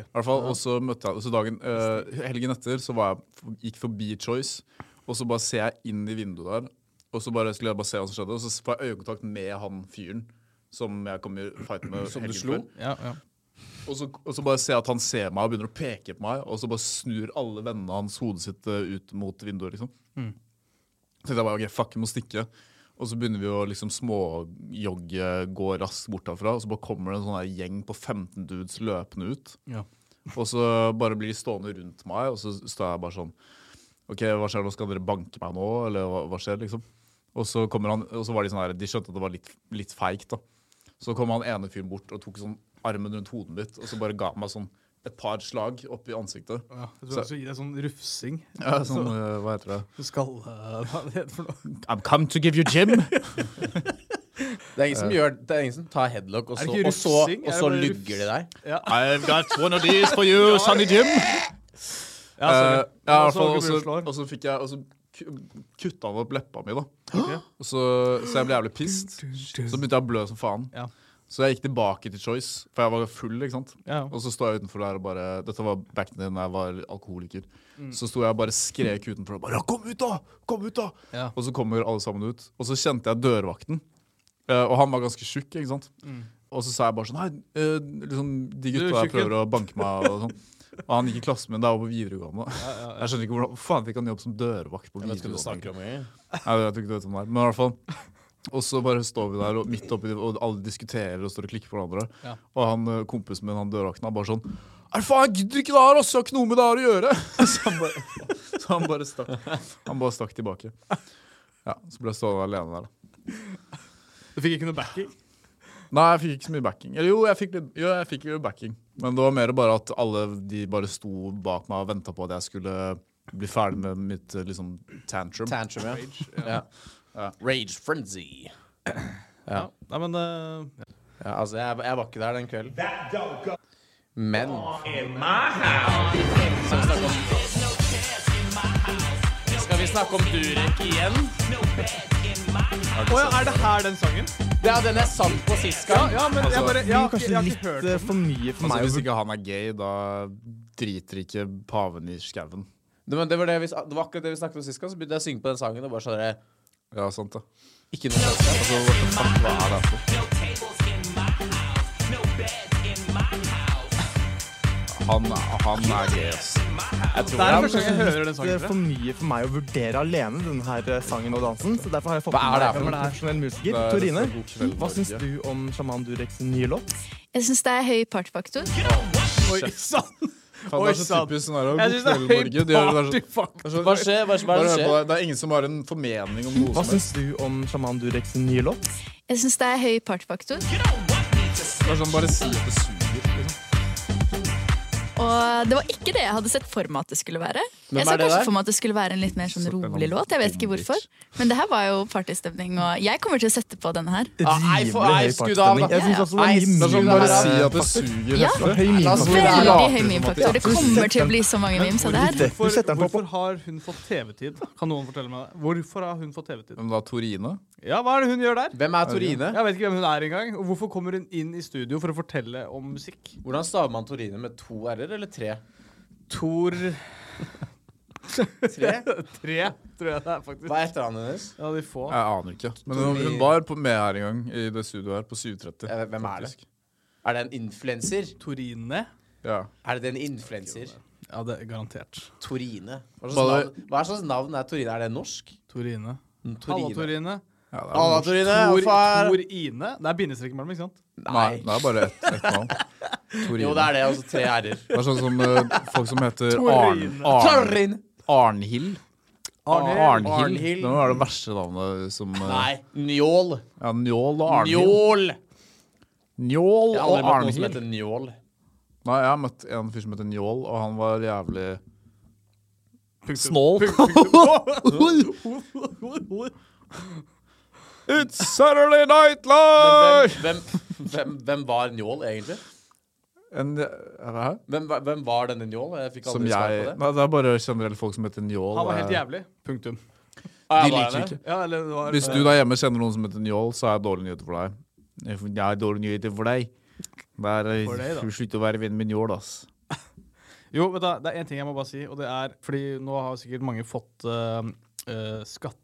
Speaker 2: I hvert fall, og så møtte jeg, så dagen, eh, Helgen etter så var jeg, gikk forbi Choice, og så bare ser jeg inn i vinduet der. Og så bare skulle jeg bare se hva som skjedde, og så får jeg øyekontakt med han fyren som jeg kom i fight med.
Speaker 1: Som du
Speaker 2: helgen
Speaker 1: slo?
Speaker 2: før.
Speaker 3: Ja, ja.
Speaker 2: Og så, og så bare ser jeg at han ser meg og begynner å peke på meg, og så bare snur alle vennene hans hodet sitt eh, ut mot vinduet, liksom. Så tenkte jeg bare, ok, fuck, vi må stikke. Og så begynner vi å liksom småjogge, gå raskt bort derfra, og så bare kommer det en sånn her gjeng på 15 dudes løpende ut.
Speaker 3: ja.
Speaker 2: Og så bare blir de stående rundt meg, og så står jeg bare sånn OK, hva skjer nå? Skal dere banke meg nå, eller hva, hva skjer, liksom? Og så kommer han, og så var de sånn her, de skjønte at det var litt, litt feigt, da. Så kom han ene fyren bort og tok sånn armen rundt hodet mitt, og så bare ga han meg sånn et par slag opp i ansiktet.
Speaker 3: ja. Jeg tror jeg skal gi deg sånn rufsing.
Speaker 2: Ja, sånn, eh, hva heter det?
Speaker 3: Du skal eh, Hva er det heter for noe?
Speaker 2: I'm come to give you gym!
Speaker 1: Det er ingen som, gjør, det er ingen som tar headlock, og
Speaker 3: Er
Speaker 1: så,
Speaker 3: det ikke
Speaker 1: og så,
Speaker 3: rufsing?
Speaker 1: og
Speaker 3: Er
Speaker 1: så
Speaker 3: det bare
Speaker 1: lugger de deg.
Speaker 2: I've got one of these for you, Sonny Jim!
Speaker 3: Ja,
Speaker 2: Eh,
Speaker 3: sorry.
Speaker 2: ja, i hvert
Speaker 3: Så
Speaker 2: fall,
Speaker 3: du
Speaker 2: og så-
Speaker 3: slår.
Speaker 2: og så fikk jeg, og så ku- kutta han opp leppa mi, da.
Speaker 3: Ok.
Speaker 2: Og så, så jeg ble jævlig pissed. Så begynte jeg å blø som faen.
Speaker 3: Ja.
Speaker 2: Så jeg gikk tilbake til Choice, for jeg var full. ikke sant?
Speaker 3: Ja.
Speaker 2: Og så sto jeg utenfor der og bare Dette var back then da jeg var alkoholiker.
Speaker 3: Mm.
Speaker 2: Så sto jeg og bare skrek utenfor og bare «Ja, 'Kom ut, da! Kom ut, da!'
Speaker 3: Ja.
Speaker 2: Og så kommer alle sammen ut. Og så kjente jeg dørvakten. Eh, og han var ganske tjukk, ikke sant. Og så sa jeg bare sånn Nei, eh, liksom, de
Speaker 3: Mm. Du,
Speaker 2: gutta der
Speaker 3: tjukken.»
Speaker 2: prøver å banke meg og sånn. Og han gikk i klassen min da jeg var på videregående. Jeg skjønner ikke hvordan Faen, fikk han jobb som dørvakt på
Speaker 1: Jeg vet ikke hva du
Speaker 2: videregående?
Speaker 1: snakker om engang.
Speaker 2: Nei, jeg tror ikke du vet om det er. Men i hvert fall. Og så bare står vi der og midt oppi det, og alle diskuterer og står og klikker på hverandre.
Speaker 3: Ja.
Speaker 2: Og han eh, kompisen min, han dørvakten, er bare sånn Nei, faen, jeg gidder ikke det her, også! Jeg har ikke noe med det her å gjøre! Så han bare, så han bare stakk. Han bare stakk tilbake. Ja, Så ble jeg stående alene der, da.
Speaker 3: Du fikk ikke noe backing?
Speaker 2: Nei, jeg fikk ikke så mye backing. Eller jo, jeg fikk litt jo, jeg fikk jo backing. Men det var mer bare at alle de bare sto bak meg og venta på at jeg skulle bli ferdig med mitt eh, liksom tantrum.
Speaker 1: Tantrum, ja.
Speaker 3: Rage.
Speaker 1: ja.
Speaker 2: Ja.
Speaker 1: Rage frenzy.
Speaker 3: Ja. Nei, men eh,
Speaker 1: Ja, altså, jeg, jeg var ikke der den kvelden. Men Skal vi snakke om Skal vi snakke om Durek igjen?
Speaker 3: Å ja, er det her den sangen?
Speaker 1: Ja, den er sant på sist gang.
Speaker 3: Ja, men jeg bare Jeg har ikke, jeg har ikke hørt
Speaker 6: Litt eh, for mye for
Speaker 2: Altså,
Speaker 6: meg. å
Speaker 2: hvis ikke han er gay, da driter ikke paven i skauen.
Speaker 1: Det, men det, var det, vi, det var akkurat det vi snakket om sist gang, så begynte jeg å synge på den sangen. og bare sånn der,
Speaker 2: Ja, sant det.
Speaker 1: Ikke noe selskap.
Speaker 2: Altså, what the fuck, hva er det her for? Han, han er gay, ass. Jeg tror
Speaker 3: Det er
Speaker 2: han-
Speaker 3: den første gang jeg hører den
Speaker 6: Det er for
Speaker 3: sangen.
Speaker 6: mye for meg å vurdere alene denne her eh, sangen og dansen. Så derfor har jeg fått
Speaker 1: Hva er det her
Speaker 6: med
Speaker 1: for
Speaker 6: meg en profesjonell musiker.
Speaker 2: Det er
Speaker 6: Torine,
Speaker 2: God kveld,
Speaker 6: hva syns
Speaker 2: Norge.
Speaker 6: du om Sjaman Dureks nye låt?
Speaker 7: Jeg syns det er høy partyfaktor.
Speaker 3: Oi sann!
Speaker 2: Faen, det er så typisk sånn her.
Speaker 3: Jeg
Speaker 2: God
Speaker 3: syns det
Speaker 2: kveld,
Speaker 3: er
Speaker 2: Norge. De har- det
Speaker 3: høy
Speaker 2: er
Speaker 3: partyfaktor.
Speaker 2: så-
Speaker 1: Hva skjer? Hva, hva er
Speaker 2: Bare hør
Speaker 1: det som
Speaker 2: på
Speaker 1: skjer?
Speaker 2: det. Det er ingen som har en formening om noe
Speaker 6: Hva
Speaker 2: som helst.
Speaker 6: syns du om Sjaman Dureks nye låt?
Speaker 7: Jeg syns det er høy partyfaktor.
Speaker 2: Det er sånn, bare si at det suger. Liksom.
Speaker 7: Og det var ikke det jeg hadde sett for meg at det skulle være.
Speaker 1: Hvem
Speaker 7: Jeg så
Speaker 1: er det
Speaker 7: kanskje
Speaker 1: der?
Speaker 7: for meg at det skulle være en litt mer sånn
Speaker 2: Sort en
Speaker 7: rolig
Speaker 2: annen
Speaker 7: låt. Jeg vet ikke
Speaker 2: bombe,
Speaker 7: hvorfor. Men det her var jo partystemning, og jeg kommer til å sette på denne her.
Speaker 1: Ah, nei, for- nei,
Speaker 6: Rimelig høy
Speaker 1: skudd av, da.
Speaker 6: partystemning. Jeg syns også det
Speaker 1: Nei,
Speaker 6: var mye
Speaker 2: Det er sånn, bare
Speaker 1: det her
Speaker 6: meme her.
Speaker 1: er-
Speaker 2: si at det suger.
Speaker 7: Ja.
Speaker 2: heftig.
Speaker 6: Høy
Speaker 1: La oss
Speaker 6: meme.
Speaker 2: later
Speaker 1: være-
Speaker 7: Veldig høy
Speaker 2: som at det
Speaker 7: meme-faktor. Det kommer til å bli så mange memes av det her.
Speaker 6: Du setter den på-
Speaker 3: hvorfor har hun fått TV-tid? Kan noen fortelle meg det? Hvorfor har hun fått TV-tid?
Speaker 2: Men da, Torine?
Speaker 3: Ja, hva er det hun gjør der?
Speaker 1: Hvem er Torine?
Speaker 3: Jeg vet ikke hvem hun er engang. Og hvorfor kommer hun inn i studio for å fortelle om musikk?
Speaker 1: Hvordan staver man Torine med to r-er eller tre?
Speaker 3: Tor
Speaker 1: Tre?
Speaker 3: Tre, tror jeg det er, faktisk.
Speaker 1: Hva er etternavnet hennes?
Speaker 3: Ja, de få.
Speaker 2: Jeg aner ikke. Men hun,
Speaker 1: Torine-
Speaker 2: hun var på, med her en gang, i det studioet her, på 7.30.
Speaker 1: Jeg vet- Eh, Hvem er det?
Speaker 2: faktisk.
Speaker 1: Er det en influenser?
Speaker 3: Torine.
Speaker 2: Ja.
Speaker 1: Er det en influenser?
Speaker 3: Ja, det er garantert.
Speaker 1: Torine. Hva slags,
Speaker 2: Bare-
Speaker 1: navn, hva slags navn er Torine? Er det norsk?
Speaker 3: Torine. Halla,
Speaker 1: Torine.
Speaker 3: Torine.
Speaker 2: Ja, Ah, det er
Speaker 1: Halla,
Speaker 2: norsk.
Speaker 1: Torine.
Speaker 3: Tor,
Speaker 1: Far.
Speaker 3: Torine. Det er bindestreken mellom, ikke sant?
Speaker 2: Nei, det er bare ett et navn. Torine.
Speaker 1: Jo, det er det. Altså tre r-er.
Speaker 2: Det er sånn som eh, folk som heter Arn,
Speaker 3: Torine.
Speaker 2: Arn,
Speaker 1: Torine.
Speaker 2: Arnhild.
Speaker 1: Arnhild.
Speaker 2: Arnhild.
Speaker 1: Arnhild.
Speaker 2: Det var det verste navnet som eh,
Speaker 1: Nei. Njål.
Speaker 2: Ja, Njål og Arnhild.
Speaker 1: Njål!
Speaker 2: Njål
Speaker 1: Jeg har
Speaker 2: og
Speaker 1: aldri møtt noen som
Speaker 2: Arnhild.
Speaker 1: heter Njål.
Speaker 2: Nei, jeg har møtt en fyr som heter Njål, og han var jævlig
Speaker 3: Punktum.
Speaker 2: Snål.
Speaker 8: It's Saturday Night
Speaker 1: Men
Speaker 8: Live!
Speaker 1: Hvem, hvem, hvem, hvem var Njål, egentlig?
Speaker 2: En, hæ?
Speaker 1: Hvem, var- hvem var denne Njål? Jeg fikk
Speaker 2: Som
Speaker 1: aldri svar
Speaker 2: jeg
Speaker 1: på det.
Speaker 2: Nei, det er bare generelt folk som heter Njål.
Speaker 3: Han var helt
Speaker 2: eh,
Speaker 3: jævlig. Punktum.
Speaker 1: Ah,
Speaker 2: de
Speaker 1: var
Speaker 2: liker
Speaker 1: han
Speaker 2: ikke.
Speaker 1: det?
Speaker 3: Ja, eller det var
Speaker 2: Hvis du der hjemme kjenner noen som heter Njål, så er jeg dårlig nyheter for deg. Jeg har dårlige nyheter for deg. Det er, eh,
Speaker 3: For deg, da.
Speaker 2: Slutt å være venn med Njål, ass.
Speaker 3: Jo, vet du, hva, det er én ting jeg må bare si, og det er Fordi nå har sikkert mange fått eh, eh, skatte...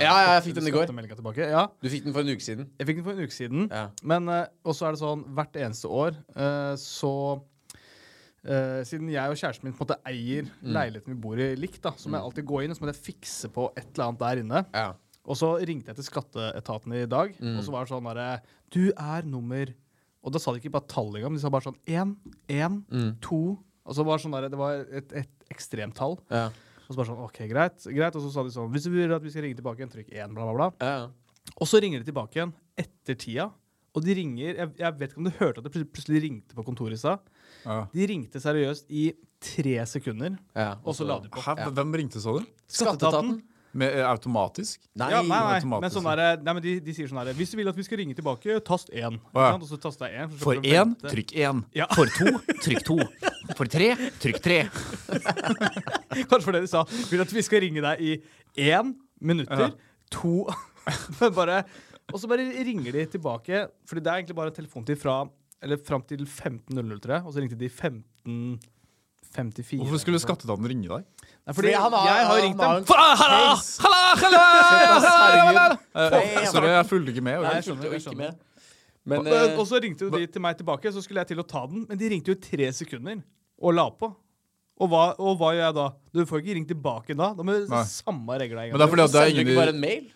Speaker 1: Ja, ja, jeg fikk den i går.
Speaker 3: skattemeldinga tilbake. Ja,
Speaker 1: Du fikk den for en uke siden.
Speaker 3: jeg fikk den for en uke siden.
Speaker 1: Ja.
Speaker 3: Men eh, også er det sånn hvert eneste år eh, så eh, Siden jeg og kjæresten min på en måte eier
Speaker 1: Mm.
Speaker 3: leiligheten vi bor i likt, da, så må jeg alltid gå inn og så må jeg fikse på et eller annet der inne.
Speaker 1: Ja.
Speaker 3: Og så ringte jeg til skatteetaten i dag,
Speaker 1: Mm.
Speaker 3: og så var det sånn derre Du er nummer Og da sa de ikke bare tall engang, men de sa bare sånn én, én,
Speaker 1: Mm.
Speaker 3: to Og så var det sånn derre Det var et, et ekstremt tall.
Speaker 1: Ja.
Speaker 3: Og så bare sånn OK, greit. greit. Og så sa de sånn Hvis du vil at vi skal ringe tilbake igjen, trykk én, bla, bla, bla.
Speaker 1: Ja.
Speaker 3: Og så ringer de tilbake igjen etter tida. Og de ringer Jeg, jeg vet ikke om du hørte at det plutselig- plutselig ringte på kontoret i stad.
Speaker 2: Ja.
Speaker 3: De ringte seriøst i tre sekunder,
Speaker 1: ja.
Speaker 3: og så la de på.
Speaker 2: Hæ, hvem ringte, sa du?
Speaker 1: Skatteetaten?
Speaker 2: Med, eh, automatisk?
Speaker 1: Nei.
Speaker 3: Ja, nei, nei.
Speaker 2: automatisk.
Speaker 3: Men sånn der, nei, men de, de sier sånn her Hvis du vil at vi skal ringe tilbake, tast én. Ikke
Speaker 2: ja.
Speaker 3: sant? Og så taster jeg én. så
Speaker 2: For
Speaker 3: slipper du å
Speaker 2: én,
Speaker 3: vente.
Speaker 2: trykk én.
Speaker 3: Ja.
Speaker 2: For to, trykk to. For tre, trykk tre.
Speaker 3: Kanskje for det de sa. Vil at vi skal ringe deg i én minutter. To men bare, Og så bare ringer de tilbake, Fordi det er egentlig bare telefontid fra Eller fram til 15.00, tror jeg. Og så ringte de 15.54.
Speaker 2: Hvorfor skulle skatteetaten ringe deg?
Speaker 3: Nei, fordi
Speaker 1: han har-
Speaker 3: jeg har jo ringt
Speaker 1: han har
Speaker 3: dem.
Speaker 1: en
Speaker 3: Fra- Halla!
Speaker 1: case.
Speaker 3: Halla! Halla!
Speaker 1: Herregud.
Speaker 2: Eh, Sorry, jeg fulgte ikke med.
Speaker 1: Nei,
Speaker 2: Jeg
Speaker 1: jeg skjønner
Speaker 3: jeg
Speaker 1: ikke
Speaker 3: skjønner.
Speaker 1: med. Men
Speaker 3: Og-
Speaker 1: eh,
Speaker 3: Og så ringte jo de til meg tilbake, så skulle jeg til å ta den. Men de ringte jo i tre sekunder og la på. Og hva, og hva gjør jeg da? Du får ikke ringe tilbake da. Da må du
Speaker 2: Nei.
Speaker 3: samme regler en gang.
Speaker 2: Men det er fordi at det er
Speaker 1: sender du
Speaker 2: ingen
Speaker 1: ikke bare
Speaker 2: i
Speaker 1: en mail?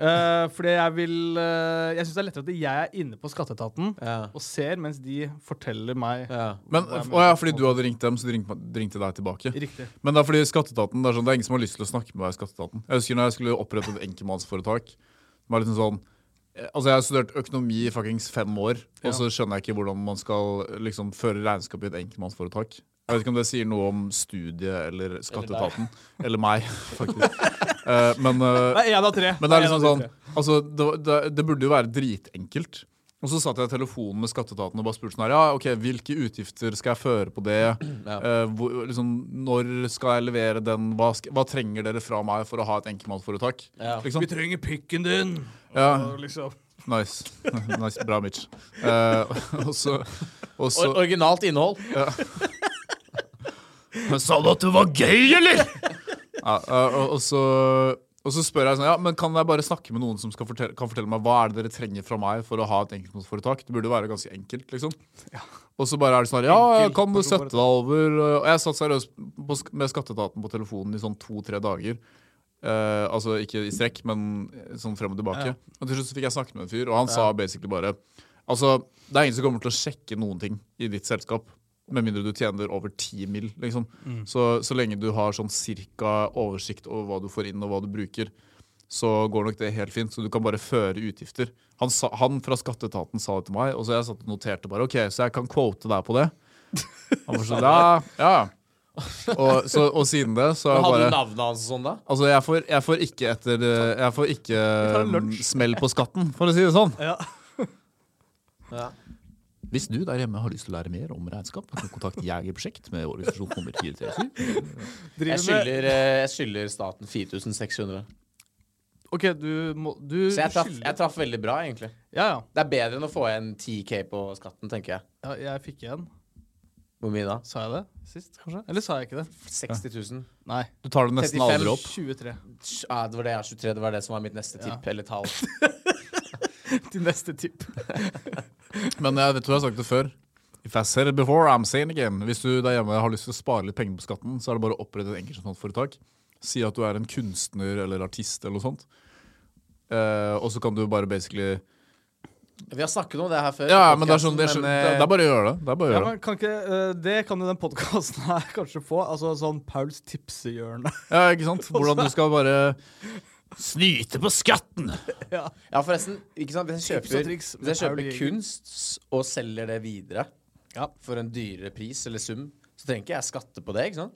Speaker 3: Eh, fordi jeg vil eh, Jeg syns det er lettere at jeg er inne på skatteetaten
Speaker 1: Ja.
Speaker 3: og ser mens de forteller meg
Speaker 1: ja.
Speaker 2: men, å ja, fordi du hadde ringt dem, så de ringte, de ringte deg tilbake.
Speaker 3: riktig.
Speaker 2: Men det er fordi skatteetaten, det er sånn, det er ingen som har lyst til å snakke med meg i skatteetaten. Jeg husker når jeg skulle opprette et enkeltmannsforetak. Det var liksom sånn, eh, altså Jeg har studert økonomi i fuckings fem år, og så skjønner jeg ikke hvordan man skal liksom, føre regnskap i et enkeltmannsforetak. Jeg vet ikke om det sier noe om studiet eller skatteetaten. Eller, meg, faktisk. Eh, men, eh,
Speaker 3: Det er én av tre.
Speaker 2: men det er
Speaker 3: en
Speaker 2: liksom
Speaker 3: av
Speaker 2: sånn
Speaker 3: de tre.
Speaker 2: altså, det, var- det, det burde jo være dritenkelt. Og så satt jeg i telefonen med skatteetaten og bare spurte sånn her, ja, ok, hvilke utgifter skal jeg føre på det? Eh, hvor, liksom, når skal jeg levere den? Hva, sk- hva trenger dere fra meg for å ha et enkeltmannsforetak?
Speaker 1: Ja.
Speaker 2: Liksom.
Speaker 3: Vi trenger pikken din!
Speaker 2: Ja,
Speaker 3: Og liksom.
Speaker 2: nice. nice. Bra, Mitch. Eh, og så, og
Speaker 1: Or
Speaker 2: så
Speaker 1: originalt innhold.
Speaker 2: Men sa du at det var gøy, eller?! ja, eh, og, og, så, og så spør jeg sånn, ja, men kan jeg bare snakke med noen som skal fortelle, kan fortelle meg hva er det dere trenger fra meg for å ha et enkeltmannsforetak? Det burde jo være ganske enkelt, liksom. Og så bare er det sånn her, ja,
Speaker 3: Enkelt
Speaker 2: kan du
Speaker 3: personforetak.
Speaker 2: sette deg over Og jeg satt seriøst på, sk- med skatteetaten på telefonen i sånn to-tre dager. Eh, altså ikke i strekk, men sånn frem og tilbake. Og til slutt så fikk jeg snakke med en fyr, og han sa basically bare Altså, det er ingen som kommer til å sjekke noen ting i ditt selskap. Med mindre du tjener over 10 mill., liksom.
Speaker 1: Mm.
Speaker 2: Så, så lenge du har sånn cirka oversikt over hva du får inn, og hva du bruker, så går nok det helt fint. Så du kan bare føre utgifter. Han, sa, han fra skatteetaten sa det til meg, og så jeg satt og noterte bare OK, så jeg kan quote deg på det. Han var sånn, ja, ja. Og, så, og siden det, så har jeg
Speaker 1: Hadde du
Speaker 2: bare
Speaker 1: navnet hans og sånn da?
Speaker 2: Altså, jeg får, jeg får ikke etter eh, Jeg får ikke
Speaker 3: tar en
Speaker 2: eh,
Speaker 3: lunsj.
Speaker 2: smell på skatten, for å si det sånn.
Speaker 3: Ja.
Speaker 1: Ja.
Speaker 2: Hvis du der hjemme har lyst til å lære mer om regnskap, kan kontakt Jegerprosjekt med organisasjon nummer 437.
Speaker 1: Jeg
Speaker 3: Driver med
Speaker 1: skylder, eh, jeg skylder staten 4600.
Speaker 3: OK, du må Du
Speaker 1: Så jeg traff,
Speaker 3: skylder-
Speaker 1: jeg traff veldig bra, egentlig.
Speaker 3: Ja, ja.
Speaker 1: Det er bedre enn å få igjen 10K på skatten, tenker jeg.
Speaker 3: ja. Jeg fikk igjen.
Speaker 1: Hvor mye da?
Speaker 3: Sa jeg det sist, kanskje? Eller sa jeg ikke det?
Speaker 1: 60 000.
Speaker 3: Nei.
Speaker 2: Du tar det nesten
Speaker 1: 35.
Speaker 2: aldri opp.
Speaker 3: 23.
Speaker 1: Ja, det var det jeg har 23. Det var det som var mitt neste tipp eller tall.
Speaker 3: Til neste tipp.
Speaker 2: Men jeg vet du jeg har sagt det før. If I said it before, I'm saying it again. Hvis du der hjemme har lyst til å spare litt penger på skatten, så er det bare å opprette et enkeltmannsforetak. Si at du er en kunstner eller artist eller noe sånt. Eh, og så kan du bare basically
Speaker 1: Vi har snakket om det her før.
Speaker 2: Ja,
Speaker 1: i
Speaker 2: men det er sånn, det er,
Speaker 1: podcasten,
Speaker 2: sånn,
Speaker 1: men,
Speaker 2: det
Speaker 1: eh,
Speaker 2: er bare å gjøre det. Det er bare å
Speaker 3: Ja,
Speaker 2: gjøre det.
Speaker 3: men kan ikke, eh, det kan jo den podkasten her kanskje få. Altså sånn Pauls tipsehjørne.
Speaker 2: Ja, ikke sant? Hvordan du skal bare Snyte på skatten!
Speaker 1: Ja, forresten, ikke sant? Hvis jeg
Speaker 3: Tips og
Speaker 1: kjøper,
Speaker 3: triks
Speaker 1: hvis jeg
Speaker 3: med Paul
Speaker 1: kjøper
Speaker 3: Jæger.
Speaker 1: kunst s- og selger det videre
Speaker 3: Ja.
Speaker 1: for en dyrere pris eller sum, så trenger ikke jeg skatte på det, ikke sant?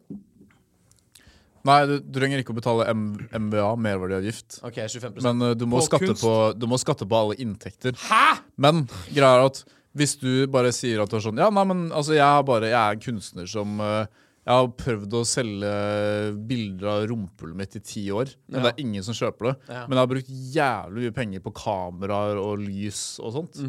Speaker 2: Nei, du, du trenger ikke å betale M MVA, merverdiavgift.
Speaker 1: OK, 25
Speaker 2: Men eh, du, må
Speaker 3: På
Speaker 2: skatte
Speaker 3: kunst?
Speaker 2: på, du må skatte på alle inntekter. Hæ?! Men greia er at Hvis du bare sier at du er sånn Ja, nei, men altså, jeg er bare Jeg er en kunstner som eh, Jeg har prøvd å selge bilder av rumpehullet mitt i ti år, men det er ingen som kjøper det.
Speaker 1: Ja.
Speaker 2: Men jeg har brukt jævlig mye penger på kameraer og lys og sånt.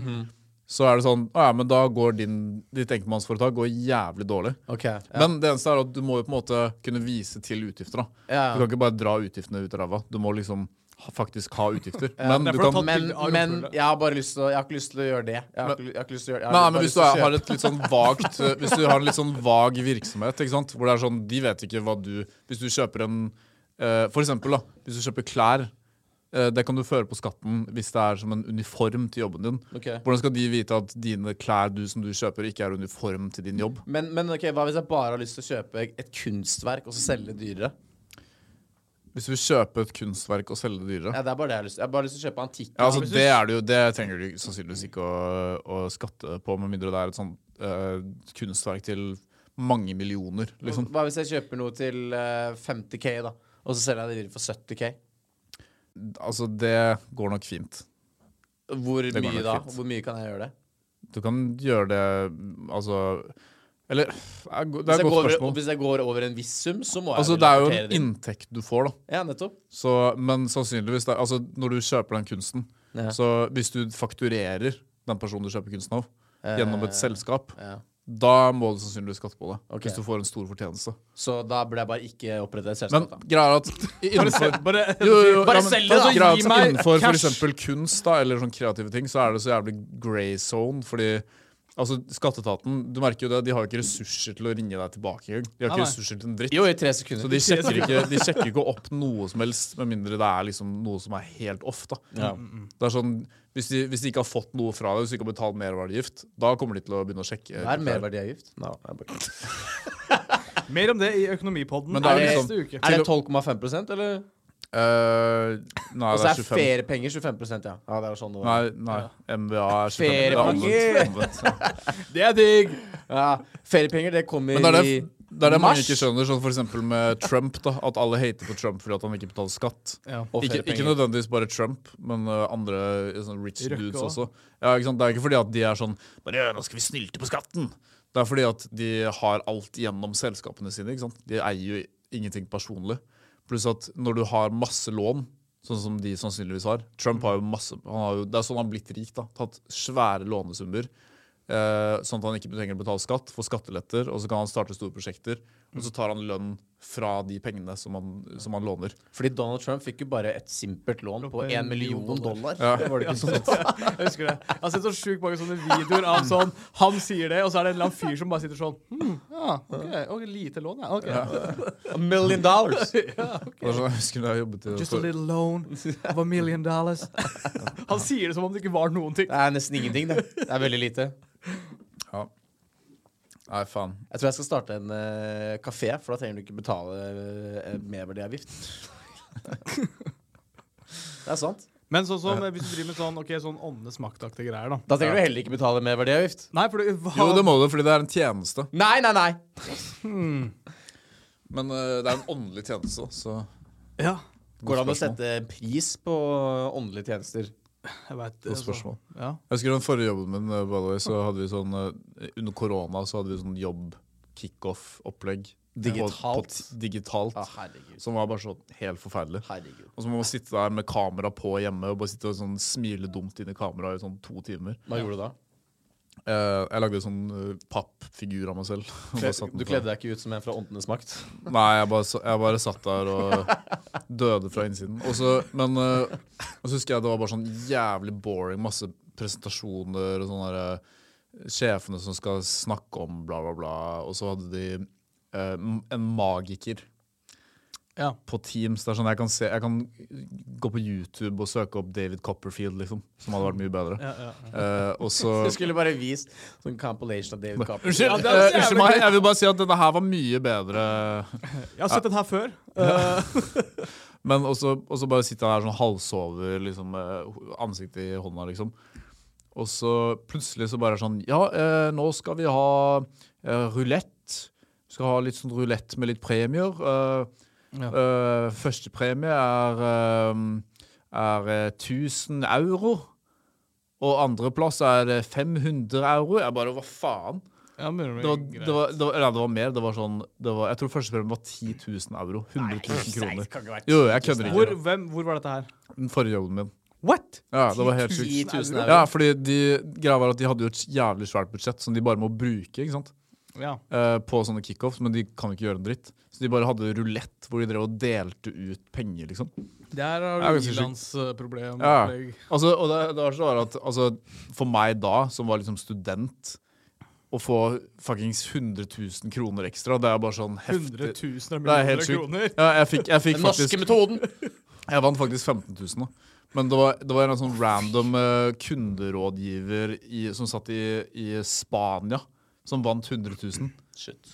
Speaker 2: Så er det sånn Å ja, men da går din, ditt enkeltmannsforetak går jævlig dårlig.
Speaker 1: Ok. Ja.
Speaker 2: Men det eneste er at du må jo på en måte kunne vise til utgifter. da
Speaker 1: Ja.
Speaker 2: Du kan ikke bare dra utgiftene ut av ræva. Du må liksom ha, faktisk ha utgifter. Men du
Speaker 3: derfor
Speaker 2: kan
Speaker 1: men,
Speaker 3: bilde av
Speaker 1: men
Speaker 3: rumpehullet.
Speaker 1: jeg har bare lyst til å Jeg har ikke lyst til å gjøre det. Jeg har,
Speaker 2: Men-
Speaker 1: ikke, jeg har ikke lyst til å gjøre jeg
Speaker 2: Nei, men
Speaker 1: har bare
Speaker 2: hvis du
Speaker 1: lyst til å
Speaker 2: er, har
Speaker 1: kjøpe-
Speaker 2: et litt sånn vagt eh, Hvis du har en litt sånn vag virksomhet, ikke sant? hvor det er sånn, de vet ikke hva du Hvis du kjøper en eh, For eksempel, da, hvis du kjøper klær eh, Det kan du føre på skatten hvis det er som en uniform til jobben din.
Speaker 1: Ok.
Speaker 2: Hvordan skal de vite at dine klær du som du kjøper, ikke er uniform til din jobb?
Speaker 1: men, men ok, hva hvis jeg bare har lyst til å kjøpe et kunstverk og så selge det dyrere?
Speaker 2: Hvis du vil kjøpe et kunstverk og selge det dyrere
Speaker 1: Ja, det er bare det jeg har lyst til. Jeg har bare lyst til å kjøpe antikk.
Speaker 2: Ja, altså,
Speaker 3: hvis du-
Speaker 2: det, er det, jo, det trenger du sannsynligvis ikke å, å skatte på, med mindre det er et sånt eh, kunstverk til mange millioner. Liksom.
Speaker 1: Hva hvis jeg kjøper noe til eh, 50K, da? Og så selger jeg det videre for 70K?
Speaker 2: Altså, det går nok fint.
Speaker 1: Hvor
Speaker 2: går
Speaker 1: mye
Speaker 2: nok
Speaker 1: da?
Speaker 2: fint.
Speaker 1: Hvor mye kan jeg gjøre det?
Speaker 2: Du kan gjøre det Altså Eller Det er, go- det er
Speaker 1: Hvis
Speaker 2: et
Speaker 1: jeg,
Speaker 2: godt
Speaker 1: går,
Speaker 2: spørsmål.
Speaker 1: over- hvis jeg går over en viss sum, så må jeg
Speaker 2: Altså,
Speaker 1: vel
Speaker 2: det er jo
Speaker 1: rapportere
Speaker 2: en
Speaker 1: det inn.
Speaker 2: inntekt du får, da.
Speaker 1: Ja, nettopp.
Speaker 2: Så, men sannsynligvis det, er- Altså, når du kjøper den kunsten
Speaker 1: Ja.
Speaker 2: Så hvis du fakturerer den personen du kjøper kunsten av, gjennom et selskap,
Speaker 1: Eh, Ja.
Speaker 2: da må du sannsynligvis skatte på det.
Speaker 1: Ok.
Speaker 2: Hvis du får en stor fortjeneste.
Speaker 1: Så da burde jeg bare ikke opprette et selskap,
Speaker 2: Men
Speaker 1: da.
Speaker 2: greia er at innenfor
Speaker 3: Bare,
Speaker 1: Bare
Speaker 2: men-
Speaker 1: selg det, da.
Speaker 2: Greia er
Speaker 3: Gi
Speaker 2: at
Speaker 3: meg
Speaker 2: Innenfor
Speaker 3: cash.
Speaker 2: for eksempel kunst da, eller sånn kreative ting, så er det så jævlig grey zone. Fordi altså, Skatteetaten du merker jo det, de har jo ikke ressurser til å ringe deg tilbake. engang. De har
Speaker 3: Nei, nei.
Speaker 2: ikke ressurser til en dritt.
Speaker 1: Jo, i tre sekunder.
Speaker 2: Så de sjekker, ikke, de sjekker ikke opp noe som helst, med mindre det er liksom noe som er helt off. da.
Speaker 3: Mm,
Speaker 2: Det er sånn, hvis de, hvis de ikke har fått noe fra deg, hvis de ikke har betalt merverdigift, da kommer de til å begynne å sjekke. Eh,
Speaker 1: Det er merverdiavgift. No,
Speaker 3: Mer om det i Økonomipodden
Speaker 2: Men det er
Speaker 3: neste
Speaker 2: liksom-
Speaker 3: uke.
Speaker 1: er det 12,5 eller?
Speaker 2: Eh, nei,
Speaker 1: Og
Speaker 2: det
Speaker 1: så
Speaker 2: er
Speaker 1: Altså,
Speaker 2: 25.
Speaker 1: er feriepenger 25 ja. ja. Det var sånn det var.
Speaker 2: Nei, nei. MVA er 25. Det
Speaker 1: Feriepenger!
Speaker 2: er omvendt. omvendt.
Speaker 1: Det er digg! Ja, feriepenger, det kommer
Speaker 2: Men det er det,
Speaker 1: i
Speaker 2: det, er det mange
Speaker 1: mars.
Speaker 2: ikke skjønner, sånn for eksempel med Trump. da, At alle hater på Trump fordi at han ikke betaler skatt.
Speaker 3: Ja.
Speaker 1: Og
Speaker 2: Ikke,
Speaker 1: feriepenger.
Speaker 2: ikke nødvendigvis bare Trump, men uh, andre uh, sånn rich
Speaker 3: Røkke
Speaker 2: dudes
Speaker 3: også.
Speaker 2: også. Ja, ikke sant? Det er ikke fordi at de er sånn bare, «Ja, 'Nå skal vi snylte på skatten'. Det er fordi at de har alt gjennom selskapene sine. ikke sant? De eier jo ingenting personlig. Pluss at når du har masse lån, sånn som de sannsynligvis har Trump har jo
Speaker 3: Mm.
Speaker 2: masse han har jo, Det er sånn han har blitt rik. da, Tatt svære lånesummer. Eh, sånn at han ikke trenger å betale skatt, får skatteletter, og så kan han starte store prosjekter. Og så tar han lønn fra de pengene som han, som han låner.
Speaker 1: Fordi Donald Trump fikk jo bare et simpelt lån på
Speaker 3: På
Speaker 1: 1
Speaker 3: en
Speaker 1: million
Speaker 3: million
Speaker 1: dollar.
Speaker 2: Var det ikke sånn?
Speaker 3: Jeg husker det. Jeg har sett så sjukt mange sånne videoer av sånn Han sier det, og så er det en eller annen fyr som bare sitter sånn hm, ja, ok, ok, lite lån, ja. ok.
Speaker 1: A million dollars!
Speaker 2: Det var sånn Jeg husker da jeg jobbet i
Speaker 3: Just a little loan of a million dollars. Han sier det som om det ikke var noen ting.
Speaker 1: Det er nesten ingenting, det. Det er veldig lite.
Speaker 2: ja. Nei, faen.
Speaker 1: Jeg tror jeg skal starte en eh, kafé, for da trenger du ikke betale eh, merverdiavgift. Det er sant.
Speaker 3: Men sånn som eh, hvis du driver med sånn ok, sånn åndenes maktaktige greier, da.
Speaker 1: Da trenger du heller ikke betale merverdiavgift.
Speaker 3: Nei, for du
Speaker 2: Jo, det må du, fordi det er en tjeneste.
Speaker 1: Nei, nei, nei!
Speaker 2: Men eh, det er en åndelig tjeneste, så
Speaker 3: Ja,
Speaker 1: Går det an
Speaker 2: spørsmål.
Speaker 1: å sette en pris på åndelige tjenester?
Speaker 3: jeg vet det.
Speaker 2: Godt spørsmål.
Speaker 3: Ja.
Speaker 2: Jeg husker den forrige jobben min, eh, by the way, så hadde vi sånn eh, Under korona så hadde vi sånn jobb-kickoff-opplegg. På, på,
Speaker 1: Digitalt. Ah.
Speaker 2: t- digitalt.
Speaker 1: Å, herregud.
Speaker 2: Som var bare sånn helt forferdelig.
Speaker 1: Herregud.
Speaker 2: Og så må man sitte der med kamera på hjemme og bare sitte og sånn smile dumt inn i kameraet i sånn to timer.
Speaker 1: Hva gjorde du da?
Speaker 2: Eh, jeg lagde sånn eh, pappfigur av meg selv. og bare satte den
Speaker 1: Du
Speaker 2: på.
Speaker 1: kledde deg ikke ut som en fra Åndenes makt?
Speaker 2: Nei, jeg bare, sa- jeg bare satt der og døde fra innsiden. Og så, men eh, og så husker jeg det var bare sånn jævlig boring. Masse presentasjoner og sånne der, eh, sjefene som skal snakke om bla, bla, bla. Og så hadde de eh, m- en magiker
Speaker 3: Ja.
Speaker 2: på Teams. Det er sånn jeg kan, se, jeg kan gå på YouTube og søke opp David Copperfield, liksom. Som hadde vært mye bedre.
Speaker 3: Ja, ja, ja.
Speaker 2: Eh, og så
Speaker 1: Du skulle bare vist sånn compilation av David Copper.
Speaker 2: Unnskyld,
Speaker 3: Ja, det er
Speaker 2: eh,
Speaker 3: så jævlig
Speaker 2: unnskyld meg, jeg vil bare si at denne her var mye bedre.
Speaker 3: Jeg har sett den her før. Eh,
Speaker 2: Men også, også bare sitte her sånn halvsover, liksom, med ho- ansiktet i hånda, liksom. Og så plutselig så bare sånn Ja, eh, nå skal vi ha eh, rulett. Vi skal ha litt sånn rulett med litt premier. Eh,
Speaker 3: Ja.
Speaker 2: eh, første premie er, eh, er eh, 1000 euro. Og andreplass er det 500 euro. Jeg bare, hva faen?
Speaker 3: Ja, men det
Speaker 2: Det var,
Speaker 3: blir greit.
Speaker 2: det var, det var, eller, det var mer. Det var sånn, det var, jeg tror første premien var 10 000 euro. 100 000 kroner. Jo, jo, jeg kødder
Speaker 3: hvor,
Speaker 2: ikke.
Speaker 3: hvem, hvor var dette her?
Speaker 2: Den forrige jobben min.
Speaker 3: What?
Speaker 2: Ja, det var helt
Speaker 1: 10
Speaker 2: sykt.
Speaker 1: 000 euro.
Speaker 2: Ja, fordi de, greia var at de hadde jo et jævlig svært budsjett som de bare må bruke ikke sant?
Speaker 3: Ja.
Speaker 2: Eh, på sånne kickoffs, men de kan jo ikke gjøre en dritt. Så de bare hadde rulett hvor de drev og delte ut penger, liksom.
Speaker 3: Der
Speaker 2: Det er
Speaker 3: har du
Speaker 2: ganske sykt.
Speaker 3: ilandsproblem.
Speaker 2: Ja.
Speaker 3: opplegg.
Speaker 2: Altså, og det, det var så rart at altså, for meg da, som var liksom student, å få fuckings 100 000 kroner ekstra, det er bare sånn
Speaker 3: 100
Speaker 2: heftig. Det
Speaker 3: 000 av
Speaker 2: er
Speaker 3: millioner
Speaker 2: helt
Speaker 3: kroner.
Speaker 2: sykt. Ja, jeg fikk, jeg fikk
Speaker 1: Den norske
Speaker 2: faktisk
Speaker 1: metoden!
Speaker 2: Jeg vant faktisk 15 000, da. Men det var, det var en sånn random eh, kunderådgiver i, som satt i, i Spania, som vant 100 000
Speaker 1: Shit.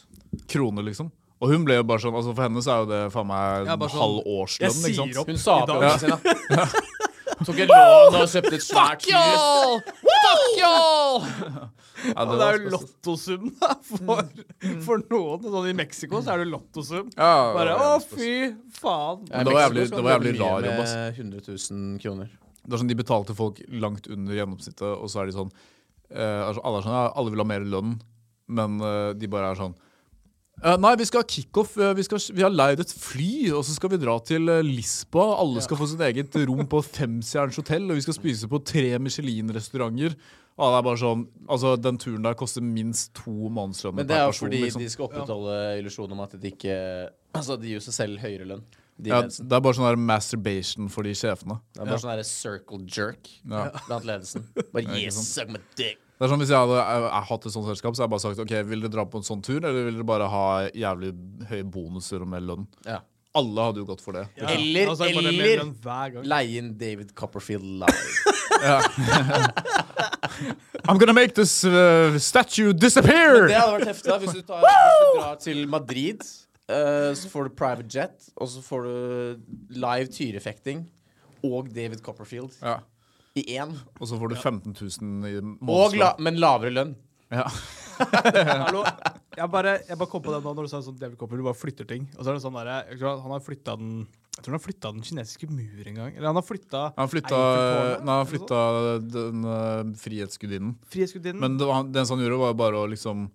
Speaker 2: kroner, liksom. Og hun ble jo bare sånn altså For henne så er jo det faen meg
Speaker 3: Ja,
Speaker 2: en
Speaker 3: bare sånn,
Speaker 2: halv
Speaker 3: Jeg
Speaker 2: årslønn, ikke sant?
Speaker 3: sier opp
Speaker 1: Hun sa
Speaker 3: i
Speaker 1: på
Speaker 3: dag.
Speaker 1: den sin, da. Tok et lån og kjøpte et svært hus.
Speaker 2: Y'all! Fuck y'all! Ja,
Speaker 3: Ja,
Speaker 2: det
Speaker 3: det
Speaker 2: var
Speaker 3: er
Speaker 2: spesielt.
Speaker 3: jo lottosum da, for, for noen. Sånn I Mexico så er det lottosum.
Speaker 2: Ja, det var
Speaker 3: Bare å,
Speaker 2: jævlig spesielt.
Speaker 3: fy faen.
Speaker 2: Men det var jævlig, det var jævlig rar jobb, ass.
Speaker 1: Med 100 000 kroner.
Speaker 2: Det er sånn, De betalte folk langt under gjennomsnittet, og så er de sånn eh, altså, Alle er sånn, ja, alle vil ha mer lønn, men eh, de bare er sånn «Eh, Nei, vi skal ha kickoff. eh, Vi, skal, vi har leid et fly, og så skal vi dra til eh, Lisboa. Alle skal få sitt eget rom på femstjerners hotell, og vi skal spise på tre Michelin-restauranter. Og det er bare sånn, altså Den turen der koster minst to månedslønner
Speaker 1: Men det er
Speaker 2: per
Speaker 1: jo
Speaker 2: person.
Speaker 1: fordi
Speaker 2: liksom.
Speaker 1: de skal opprettholde illusjonen om at de ikke Altså, de gir seg selv høyere lønn. De
Speaker 2: ja,
Speaker 1: ledelsen.
Speaker 2: det er bare sånn der masturbation for de sjefene.
Speaker 1: Det er bare sånn der circle jerk
Speaker 2: Ja.
Speaker 1: blant ledelsen. Bare yes, suck my dick.
Speaker 2: Det er sånn Hvis jeg hadde jeg, jeg hatt et sånt selskap, så hadde jeg bare sagt OK, vil dere dra på en sånn tur, eller vil dere bare ha jævlig høye bonuser og mer lønn?
Speaker 1: Ja.
Speaker 2: Alle hadde jo gått for det.
Speaker 3: Ja.
Speaker 1: Eller-
Speaker 3: Altså, jeg bare
Speaker 1: eller-
Speaker 3: melder den hver gang.
Speaker 1: Leie inn David Copperfield live.
Speaker 2: I'm gonna make this uh, statue disappear!
Speaker 1: Det hadde vært heftig da hvis du, tar, hvis du drar til Madrid. eh, så får du private jet, og så får du live tyrefekting og David Copperfield
Speaker 2: Ja.
Speaker 1: i én.
Speaker 2: Og så får du 15 000 i
Speaker 1: Og la,
Speaker 2: månedslønn.
Speaker 1: men lavere lønn.
Speaker 2: Ja.
Speaker 3: Hallo. Jeg bare, jeg bare kom på det nå når du sa sånn David Copperfield bare flytter ting. Og så er det sånn der, jeg tror Han har flytta den Jeg tror han har flytta den kinesiske mur en gang. Eller han har flytta
Speaker 2: Han flytta,
Speaker 3: Eiffeltårnet,
Speaker 2: nei, han
Speaker 3: eller noe
Speaker 2: flytta den uh, frihetsgudinnen.
Speaker 3: Frihetsgudinnen.
Speaker 2: Men det var, den som han gjorde, var bare å liksom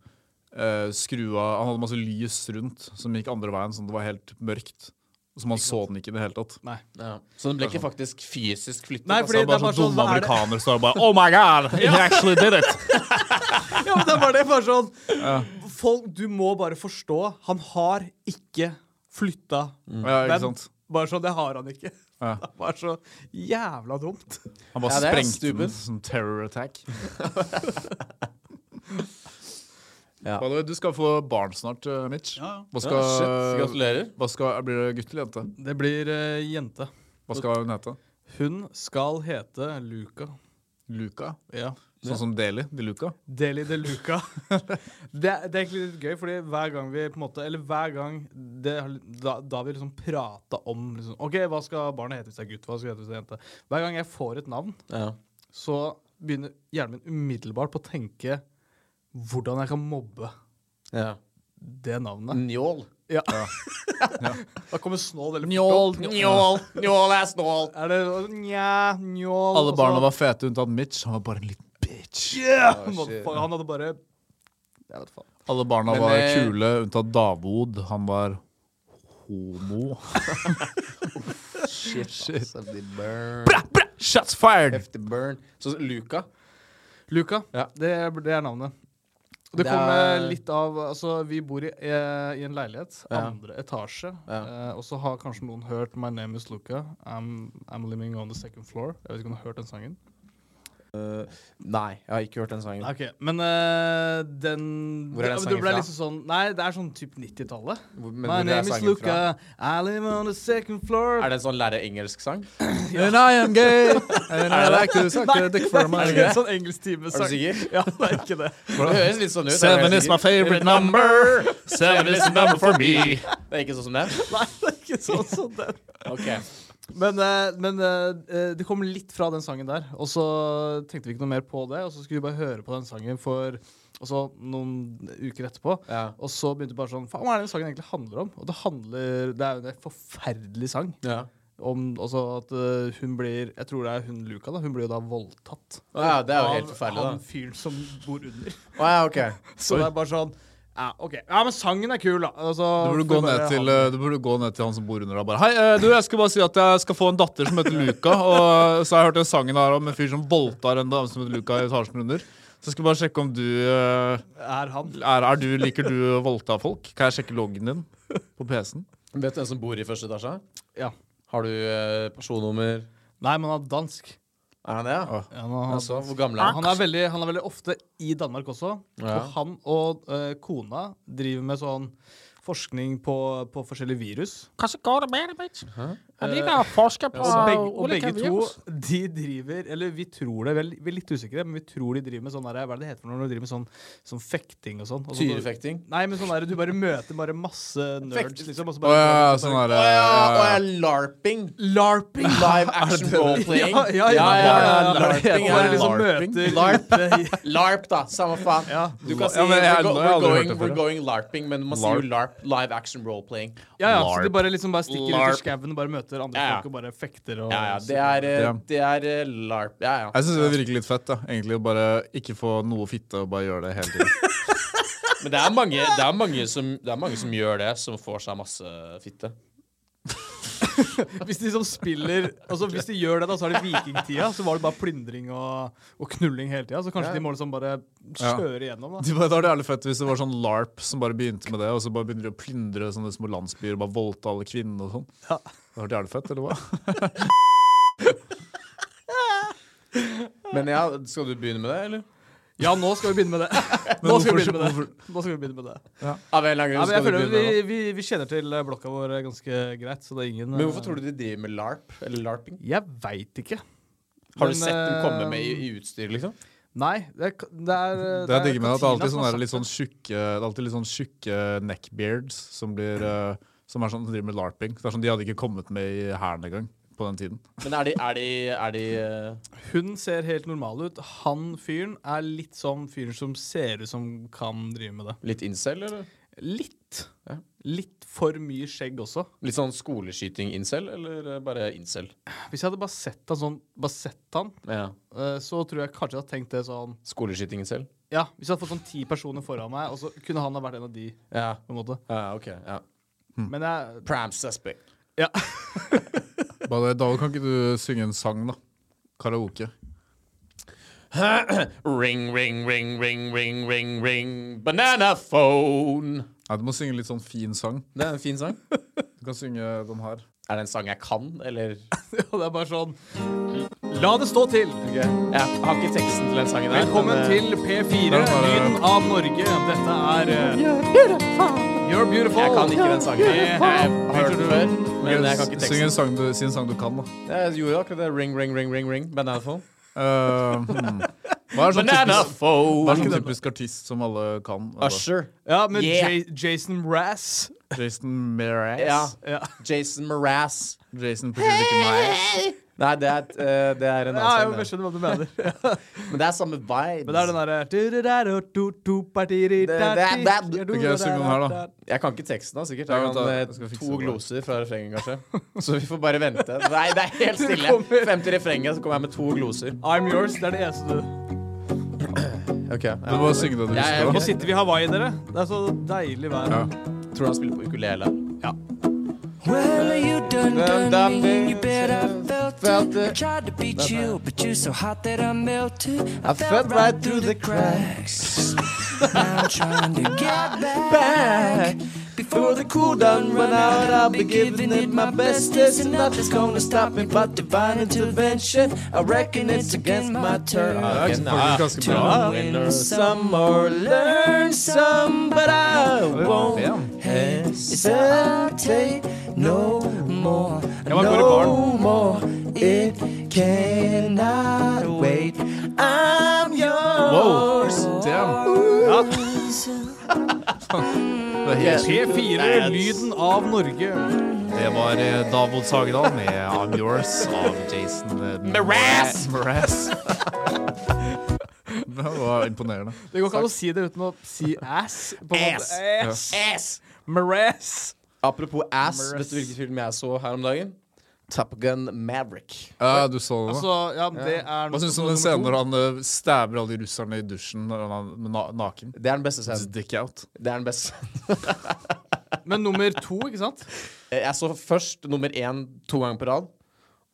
Speaker 2: eh, skru av Han hadde masse lys rundt som gikk andre veien, sånn at det var helt mørkt. Så man så den ikke i det hele tatt.
Speaker 3: Nei.
Speaker 1: Ja. Så den ble ikke faktisk fysisk flyttet. altså,
Speaker 3: Nei,
Speaker 2: Det
Speaker 3: fordi
Speaker 2: er bare sånn dumme
Speaker 3: hva er det-
Speaker 2: amerikanere står og bare Oh my god! He actually did it!
Speaker 3: Ja, men det er bare det. Bare sånn Folk, du må bare forstå. Han har ikke flytta.
Speaker 2: Ja, ikke
Speaker 3: Men
Speaker 2: sant?
Speaker 3: Bare sånn, det har han ikke.
Speaker 2: Ja.
Speaker 3: Det var så jævla dumt.
Speaker 2: Han bare
Speaker 1: Ja, det er
Speaker 2: sprengte den
Speaker 1: stupid.
Speaker 2: som terror attack.
Speaker 1: Ja.
Speaker 2: By the way, du skal få barn snart, eh, Mitch.
Speaker 3: Ja, ja.
Speaker 2: Hva
Speaker 1: Ja, shit.
Speaker 2: skal,
Speaker 1: Gratulerer.
Speaker 2: hva skal, blir det gutt eller jente?
Speaker 3: Det blir eh, jente.
Speaker 2: Hva skal hun hete?
Speaker 3: Hun skal hete Luca.
Speaker 2: Luca?
Speaker 3: Ja.
Speaker 2: Sånn som Deli de Luca?
Speaker 3: Deli de Luca. det, er- det er egentlig litt gøy, fordi hver gang vi på en måte Eller hver gang det, har- da, da vi liksom prata om liksom, OK, hva skal barnet hete hvis det er gutt? Hva skal det hete hvis det er jente? Hver gang jeg får et navn,
Speaker 1: Ja.
Speaker 3: så begynner hjernen min umiddelbart på å tenke hvordan jeg kan mobbe
Speaker 1: Ja.
Speaker 3: det navnet.
Speaker 1: Njål.
Speaker 3: Ja. Mm. da kommer snål eller
Speaker 1: Njål. Njål er snål.
Speaker 3: Er det nja, njål
Speaker 2: Alle barna var fete unntatt Mitch. Han var bare en liten bitch.
Speaker 3: yeah! Motherfucker, Han hadde bare Jeg vet faen.
Speaker 2: Alle barna
Speaker 1: Men,
Speaker 2: var
Speaker 1: eh,
Speaker 2: kule unntatt Davod. Han var homo.
Speaker 1: Shit. Shit. Heftig burn.
Speaker 2: Shots fired!
Speaker 1: Heftig burn. Så Luca
Speaker 3: Luca,
Speaker 1: Ja.
Speaker 3: det, er- det er navnet. Det
Speaker 1: Det
Speaker 3: kommer
Speaker 1: er-
Speaker 3: litt av Altså, vi bor i, eh, i en leilighet.
Speaker 1: Ja.
Speaker 3: Andre etasje.
Speaker 1: Ja.
Speaker 3: Eh, og så har kanskje noen hørt 'My name is Luca'. I'm, I'm living on the second floor. Jeg vet ikke om du har hørt den sangen?
Speaker 1: eh, Nei, jeg har ikke hørt den sangen.
Speaker 3: Ok, Men eh, den
Speaker 1: Hvor er den sangen
Speaker 3: det- det ble
Speaker 1: fra?
Speaker 3: Liksom sånn, nei, det er sånn typ 90-tallet.
Speaker 1: Hvor- Men
Speaker 3: My
Speaker 1: hvor er
Speaker 3: name is
Speaker 1: sangen fra?
Speaker 3: Luca, I live on the second floor.
Speaker 1: Er det en sånn lære engelsk-sang?
Speaker 2: And I am gay, and I like to suck the dick for my
Speaker 3: Er det
Speaker 2: gay.
Speaker 3: ikke en sånn engelsktime
Speaker 1: Er du sikker?
Speaker 3: Ja, det er ikke det.
Speaker 1: Det høres litt sånn ut.
Speaker 2: Seven
Speaker 1: er du
Speaker 2: is my
Speaker 1: sikker?
Speaker 2: favorite number. Seven is the number for me.
Speaker 1: Det er ikke sånn som det?
Speaker 3: Nei, det er ikke sånn som den.
Speaker 1: Ok.
Speaker 3: Men, eh, men eh, eh, det kom litt fra den sangen der, og så tenkte vi ikke noe mer på det. Og så skulle vi bare høre på den sangen for og så noen uker etterpå.
Speaker 1: Ja.
Speaker 3: Og så begynte vi bare sånn Faen, hva er det den sangen egentlig handler om? Og det handler Det er jo en forferdelig sang.
Speaker 1: ja.
Speaker 3: Om, altså at eh, hun blir Jeg tror det er hun Luca, da. Hun blir jo da voldtatt.
Speaker 1: Å ja, det er jo helt forferdelig,
Speaker 3: Av han
Speaker 1: da.
Speaker 3: fyren som bor under.
Speaker 1: Å ja, ok.
Speaker 3: Så det er bare sånn Ja, OK. Ja, men sangen er kul, da. Altså,
Speaker 2: Du burde,
Speaker 3: får
Speaker 2: gå
Speaker 3: bare
Speaker 2: ned
Speaker 3: ha
Speaker 2: til,
Speaker 3: den.
Speaker 2: eh, du burde gå ned til han som bor under deg og bare Hei, eh, du, jeg skal bare si at jeg skal få en datter som heter Luca. Og eh, så har jeg hørt den sangen her om en fyr som voldtar en dame som heter Luca i etasjen under. Så jeg skal bare sjekke om du eh,
Speaker 3: Er han.
Speaker 2: er, er du, Liker du å voldta folk? Kan jeg sjekke loggen din på PC-en?
Speaker 1: Vet du hvem som bor i første etasje?
Speaker 3: Ja.
Speaker 1: Har du eh, personnummer?
Speaker 3: Nei, men han er dansk.
Speaker 1: Er han det, ja?
Speaker 3: Ja, men han,
Speaker 1: Altså, hvor gammel er han?
Speaker 3: han, er veldig, han er veldig ofte i Danmark også.
Speaker 1: Ja.
Speaker 3: Og han og eh, kona driver med sånn forskning på, på forskjellige virus.
Speaker 9: Kanskje går det bedre, bitch. Jeg
Speaker 3: Eh,
Speaker 9: liker å forske på
Speaker 3: Og begge, og
Speaker 9: ulike
Speaker 3: begge to
Speaker 9: virus.
Speaker 3: de driver Eller vi tror det, vel, vi er litt usikre, men vi tror de driver med sånn der, Hva er det det heter for noe? når De driver med sånn, sånn fekting og sånn. og så-
Speaker 1: Tyrefekting?
Speaker 3: Nei, men sånn der, du bare møter bare masse nerds,
Speaker 1: Fekt-
Speaker 3: liksom. Og så
Speaker 2: Å
Speaker 3: bare,
Speaker 2: ja, ja, sånn her,
Speaker 1: Å
Speaker 2: eh,
Speaker 1: ja,
Speaker 2: ja,
Speaker 1: å ja,
Speaker 2: ja.
Speaker 1: larping.
Speaker 3: LARPing!
Speaker 1: Live action roleplaying.
Speaker 3: Ja, ja, ja. ja, ja,
Speaker 1: LARPing.
Speaker 3: Og bare
Speaker 1: ja.
Speaker 3: liksom
Speaker 2: LARPing.
Speaker 3: møter
Speaker 1: LARP. LARP, da. Samme faen.
Speaker 3: Ja.
Speaker 1: Du kan si
Speaker 2: Ja, men jeg-
Speaker 1: we're, go,
Speaker 2: nå har jeg
Speaker 1: we're,
Speaker 2: aldri hørt
Speaker 1: going,
Speaker 2: det før,
Speaker 1: we're
Speaker 2: ja.
Speaker 1: going LARPing, men man sier jo LARP. Live action role-playing.
Speaker 3: Ja, ja, så de
Speaker 2: LARP.
Speaker 3: bare liksom bare stikker ut i
Speaker 2: LARP.
Speaker 3: skauen og bare møter andre
Speaker 1: Ja, ja.
Speaker 3: folk og bare fekter og
Speaker 1: Ja, ja. Det er, eh,
Speaker 2: Ja.
Speaker 1: det er eh, LARP. Ja, ja.
Speaker 2: Jeg syns det virker litt fett. da Egentlig å bare ikke få noe fitte og bare gjøre det hele tiden.
Speaker 1: Men det er, mange, det, er mange som, det er mange som gjør det, som får seg masse fitte.
Speaker 3: Hvis de som spiller Altså hvis de gjør det, da, så er det vikingtida. Så var det bare plyndring og, og knulling hele tida. Så kanskje de må liksom bare kjøre igjennom, da.
Speaker 2: Det var, det var jævlig fett hvis det var sånn LARP som bare begynte med det, og så bare begynner de å plyndre sånne små landsbyer og bare voldta alle kvinnene og sånn.
Speaker 3: Ja.
Speaker 2: Det hadde vært jævlig fett, eller hva?
Speaker 1: Men ja, skal du begynne med det, eller?
Speaker 3: Ja, nå skal vi begynne med det. Nå skal vi begynne med det. Nå skal vi begynne med det.
Speaker 1: Av en eller annen
Speaker 3: Ja,
Speaker 1: grunn
Speaker 3: men jeg
Speaker 1: skal du
Speaker 3: føler
Speaker 1: begynne
Speaker 3: vi,
Speaker 1: med det.
Speaker 3: vi, vi kjenner til eh, blokka vår ganske greit, så det er ingen eh,
Speaker 1: Men hvorfor tror du de driver med LARP? Eller LARPing?
Speaker 3: Jeg veit ikke.
Speaker 1: Har
Speaker 3: Men,
Speaker 1: du sett dem komme med i,
Speaker 3: eh,
Speaker 1: i utstyr, liksom?
Speaker 3: Nei. Det er, det er, eh,
Speaker 2: Det jeg digger med det, at det er alltid
Speaker 3: Katina som
Speaker 2: sånne
Speaker 3: har
Speaker 2: der litt
Speaker 3: sagt
Speaker 2: sånn tjukke Det er alltid litt sånn tjukke neckbeards som blir eh, Som er sånn som driver med larping. Så det er sånn, de hadde ikke kommet med i hæren engang på den tiden.
Speaker 1: Men er de, er de, er de eh,
Speaker 3: Hun ser helt normal ut. Han fyren er litt sånn fyren som ser ut som kan drive med det.
Speaker 1: litt incel, eller?
Speaker 3: Litt.
Speaker 1: Ja.
Speaker 3: Litt for mye skjegg også.
Speaker 1: Litt sånn skoleskyting-incel, eller eh, bare incel?
Speaker 3: Hvis jeg hadde bare sett han sånn, bare sett han,
Speaker 1: Ja.
Speaker 3: eh, så tror jeg kanskje jeg hadde tenkt det sånn
Speaker 1: Skoleskyting-incel?
Speaker 3: Ja, hvis jeg hadde fått sånn ti personer foran meg, og så kunne han ha vært en av de,
Speaker 1: Ja.
Speaker 3: på en måte.
Speaker 1: ja, ok. Ja.
Speaker 3: Men jeg
Speaker 1: Pram suspect.
Speaker 3: Ja.
Speaker 2: Bare, Dahl, kan ikke du synge en sang, da? Karaoke.
Speaker 1: Ring, ring, ring, ring, ring, ring, ring. Banana phone.
Speaker 2: Nei, du må synge litt sånn fin sang.
Speaker 1: Det er en fin sang.
Speaker 2: Du kan synge den her.
Speaker 1: Er det en sang jeg kan, eller?
Speaker 3: Og det er bare sånn La det stå til!
Speaker 1: Jeg har ikke teksten til den sangen her.
Speaker 3: Velkommen
Speaker 1: men, eh,
Speaker 3: til P4, lyden av Norge. Dette er eh, You're beautiful.
Speaker 1: Jeg kan ikke den sangen.
Speaker 3: Det
Speaker 1: Jeg har hørt den før, men jeg kan ikke
Speaker 2: Syng
Speaker 1: teksten.
Speaker 2: en sang du, si en sang du kan, da.
Speaker 1: Jeg gjorde akkurat det. Ring, ring, ring, ring, ring. Banana phone.
Speaker 2: Eh, hmm. Hva er sånn
Speaker 1: Banana
Speaker 2: typisk, hva er
Speaker 1: phone.
Speaker 2: sånn typisk artist som alle kan? Altså,
Speaker 1: Usher.
Speaker 3: Ja, med
Speaker 1: Yeah.
Speaker 3: Ja- Jason Mraz.
Speaker 2: Jason Mraz.
Speaker 1: Ja.
Speaker 3: Ja.
Speaker 1: Jason Mraz.
Speaker 2: Jason Pacific Mraz.
Speaker 1: Nei, det er, et, eh, det er en
Speaker 3: Ja,
Speaker 1: annen
Speaker 3: jeg,
Speaker 1: sang. det.
Speaker 3: skjønner hva du mener.
Speaker 1: Men det er samme vibes.
Speaker 3: Men det er den eh, derre
Speaker 2: Ok, jeg synger den her, da.
Speaker 1: Jeg kan ikke teksten, da, sikkert.
Speaker 2: Ja,
Speaker 1: Jeg
Speaker 2: vent
Speaker 1: kan
Speaker 2: da,
Speaker 1: eh,
Speaker 2: jeg skal fikse
Speaker 1: to
Speaker 2: det.
Speaker 1: gloser fra refrenget, kanskje. Så vi får bare vente. Nei, det er helt stille. Frem til refrenget, så kommer jeg med to gloser.
Speaker 3: I'm yours. Det er det eneste du
Speaker 1: Ok, ja.
Speaker 2: Du må synge det du
Speaker 1: Jeg-
Speaker 2: husker.
Speaker 3: Nå
Speaker 2: da.
Speaker 3: sitter vi i Hawaii, dere. Det er så deilig vær.
Speaker 2: Ja.
Speaker 1: Tror du han spiller på ukulele?
Speaker 10: Well, you done
Speaker 1: Done,
Speaker 10: done,
Speaker 1: done me.
Speaker 10: me. You bet I felt,
Speaker 1: Felt
Speaker 10: it.
Speaker 1: it.
Speaker 10: I tried to beat you, but you're so hot that I melted.
Speaker 1: I
Speaker 10: I
Speaker 1: felt
Speaker 10: felt
Speaker 1: right
Speaker 10: right through the cracks. now I'm trying to get back. Before the cool done run out, I'll be giving it my bestest. And nothing's gonna stop me but divine intervention. I reckon it's against my turn.
Speaker 1: Ok,
Speaker 2: Faktisk
Speaker 1: nei.
Speaker 2: ganske
Speaker 10: To
Speaker 2: bra.
Speaker 10: win some or learn some, but I won't hesitate no more. No more, it cannot wait. I'm yours.
Speaker 3: P4, lyden av Norge.
Speaker 2: Det var eh, Davod Sagedal med I'm Yours av Jason Mraz. Mraz. Det var imponerende.
Speaker 3: Det går ikke an å si det uten å si ass. På en måte.
Speaker 1: Ass.
Speaker 3: Ass. Mraz.
Speaker 1: Apropos ass, vet du hvilken film jeg så her om dagen? Top Gun Maverick.
Speaker 2: Ja, du så det nå?
Speaker 3: Altså, ja, det er
Speaker 2: Hva syns du om den scenen når han eh, stabber alle de russerne i dusjen når han er na naken?
Speaker 1: Det er den beste
Speaker 2: His
Speaker 1: scenen.
Speaker 2: Dick out.
Speaker 1: Det er den beste.
Speaker 3: Men nummer to, ikke sant?
Speaker 1: Eh, Jeg så først nummer én to ganger på rad.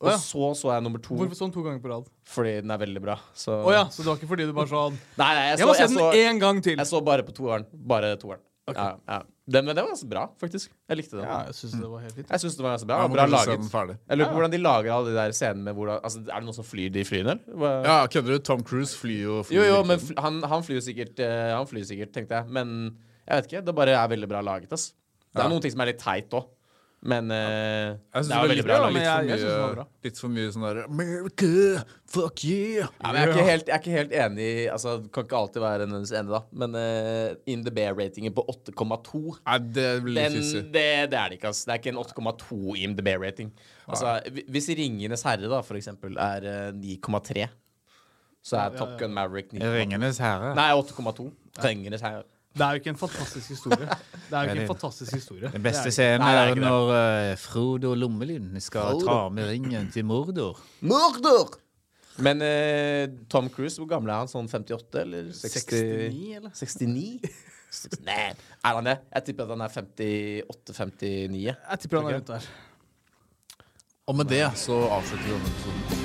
Speaker 1: Og
Speaker 3: Å ja.
Speaker 1: så så jeg nummer to
Speaker 3: Hvorfor sånn to ganger på rad?
Speaker 1: fordi den er veldig bra. Så
Speaker 3: Å ja, så det var ikke fordi du bare sånn
Speaker 1: Nei, nei, jeg
Speaker 3: Jeg
Speaker 1: så,
Speaker 3: må se
Speaker 1: jeg så,
Speaker 3: den én gang til.
Speaker 1: jeg så bare på toeren. Bare toeren. Ja, ja. Den, men den var ganske bra, faktisk. Jeg likte den.
Speaker 3: Ja, jeg syns det var helt fint.
Speaker 1: Jeg syns den var ganske bra.
Speaker 2: Ja,
Speaker 1: og
Speaker 2: må
Speaker 1: bra
Speaker 2: kanskje se den
Speaker 1: laget.
Speaker 2: ferdig.
Speaker 1: Jeg lurer på hvordan de lager alle de der scenene med hvordan altså, Er det noen som flyr de flyene, eller? Hva-
Speaker 2: Ja, kødder du? Tom Cruise flyr jo flyr
Speaker 1: Jo, jo,
Speaker 2: virkelig.
Speaker 1: men fl han, han flyr jo sikkert, eh, han flyr sikkert, tenkte jeg. Men jeg vet ikke. Det bare er veldig bra laget, ass. Det er
Speaker 2: Ja.
Speaker 1: noen ting som er litt teit òg. Men eh,
Speaker 2: Jeg synes
Speaker 1: det er jo veldig
Speaker 2: litt-
Speaker 1: bra
Speaker 2: ja,
Speaker 1: laget.
Speaker 3: men
Speaker 2: Litt
Speaker 3: jeg-
Speaker 2: for
Speaker 3: jeg synes det var
Speaker 2: mye,
Speaker 3: bra.
Speaker 2: litt for mye sånn der America, fuck yeah!
Speaker 1: Ja, men jeg, er ikke helt, jeg er ikke helt enig i altså, det Kan ikke alltid være hennes enig, da. Men eh, In the Bear-ratingen på 8,2
Speaker 2: Nei, det blir litt
Speaker 1: den,
Speaker 2: hissig.
Speaker 1: det, det er det ikke. ass. Det er ikke en 8,2 i IMDb-rating. Altså, hvi- Hvis Ringenes herre da, for eksempel, er eh, 9,3, så er Top Gun Maverick 9,2.
Speaker 2: Ringenes herre.
Speaker 1: Nei, 8,2. Ringenes herre.
Speaker 3: Det er jo ikke en fantastisk historie. Det er jo ikke en fantastisk historie.
Speaker 2: Den beste
Speaker 3: Det er-
Speaker 2: scenen
Speaker 1: Nei, det er
Speaker 2: er
Speaker 1: ikke det.
Speaker 2: når eh, Frodo og Lommelyn skal
Speaker 1: Frodo.
Speaker 2: ta med ringen til Mordor.
Speaker 1: Mordor! Men eh, Tom Cruise, hvor gammel er han? Sånn 58, eller?
Speaker 3: 69, eller?
Speaker 1: 69? Nei, er han det? Jeg tipper at han er 58-59.
Speaker 3: Jeg tipper han er rundt der.
Speaker 2: Og med det så avslutter vi denne episoden.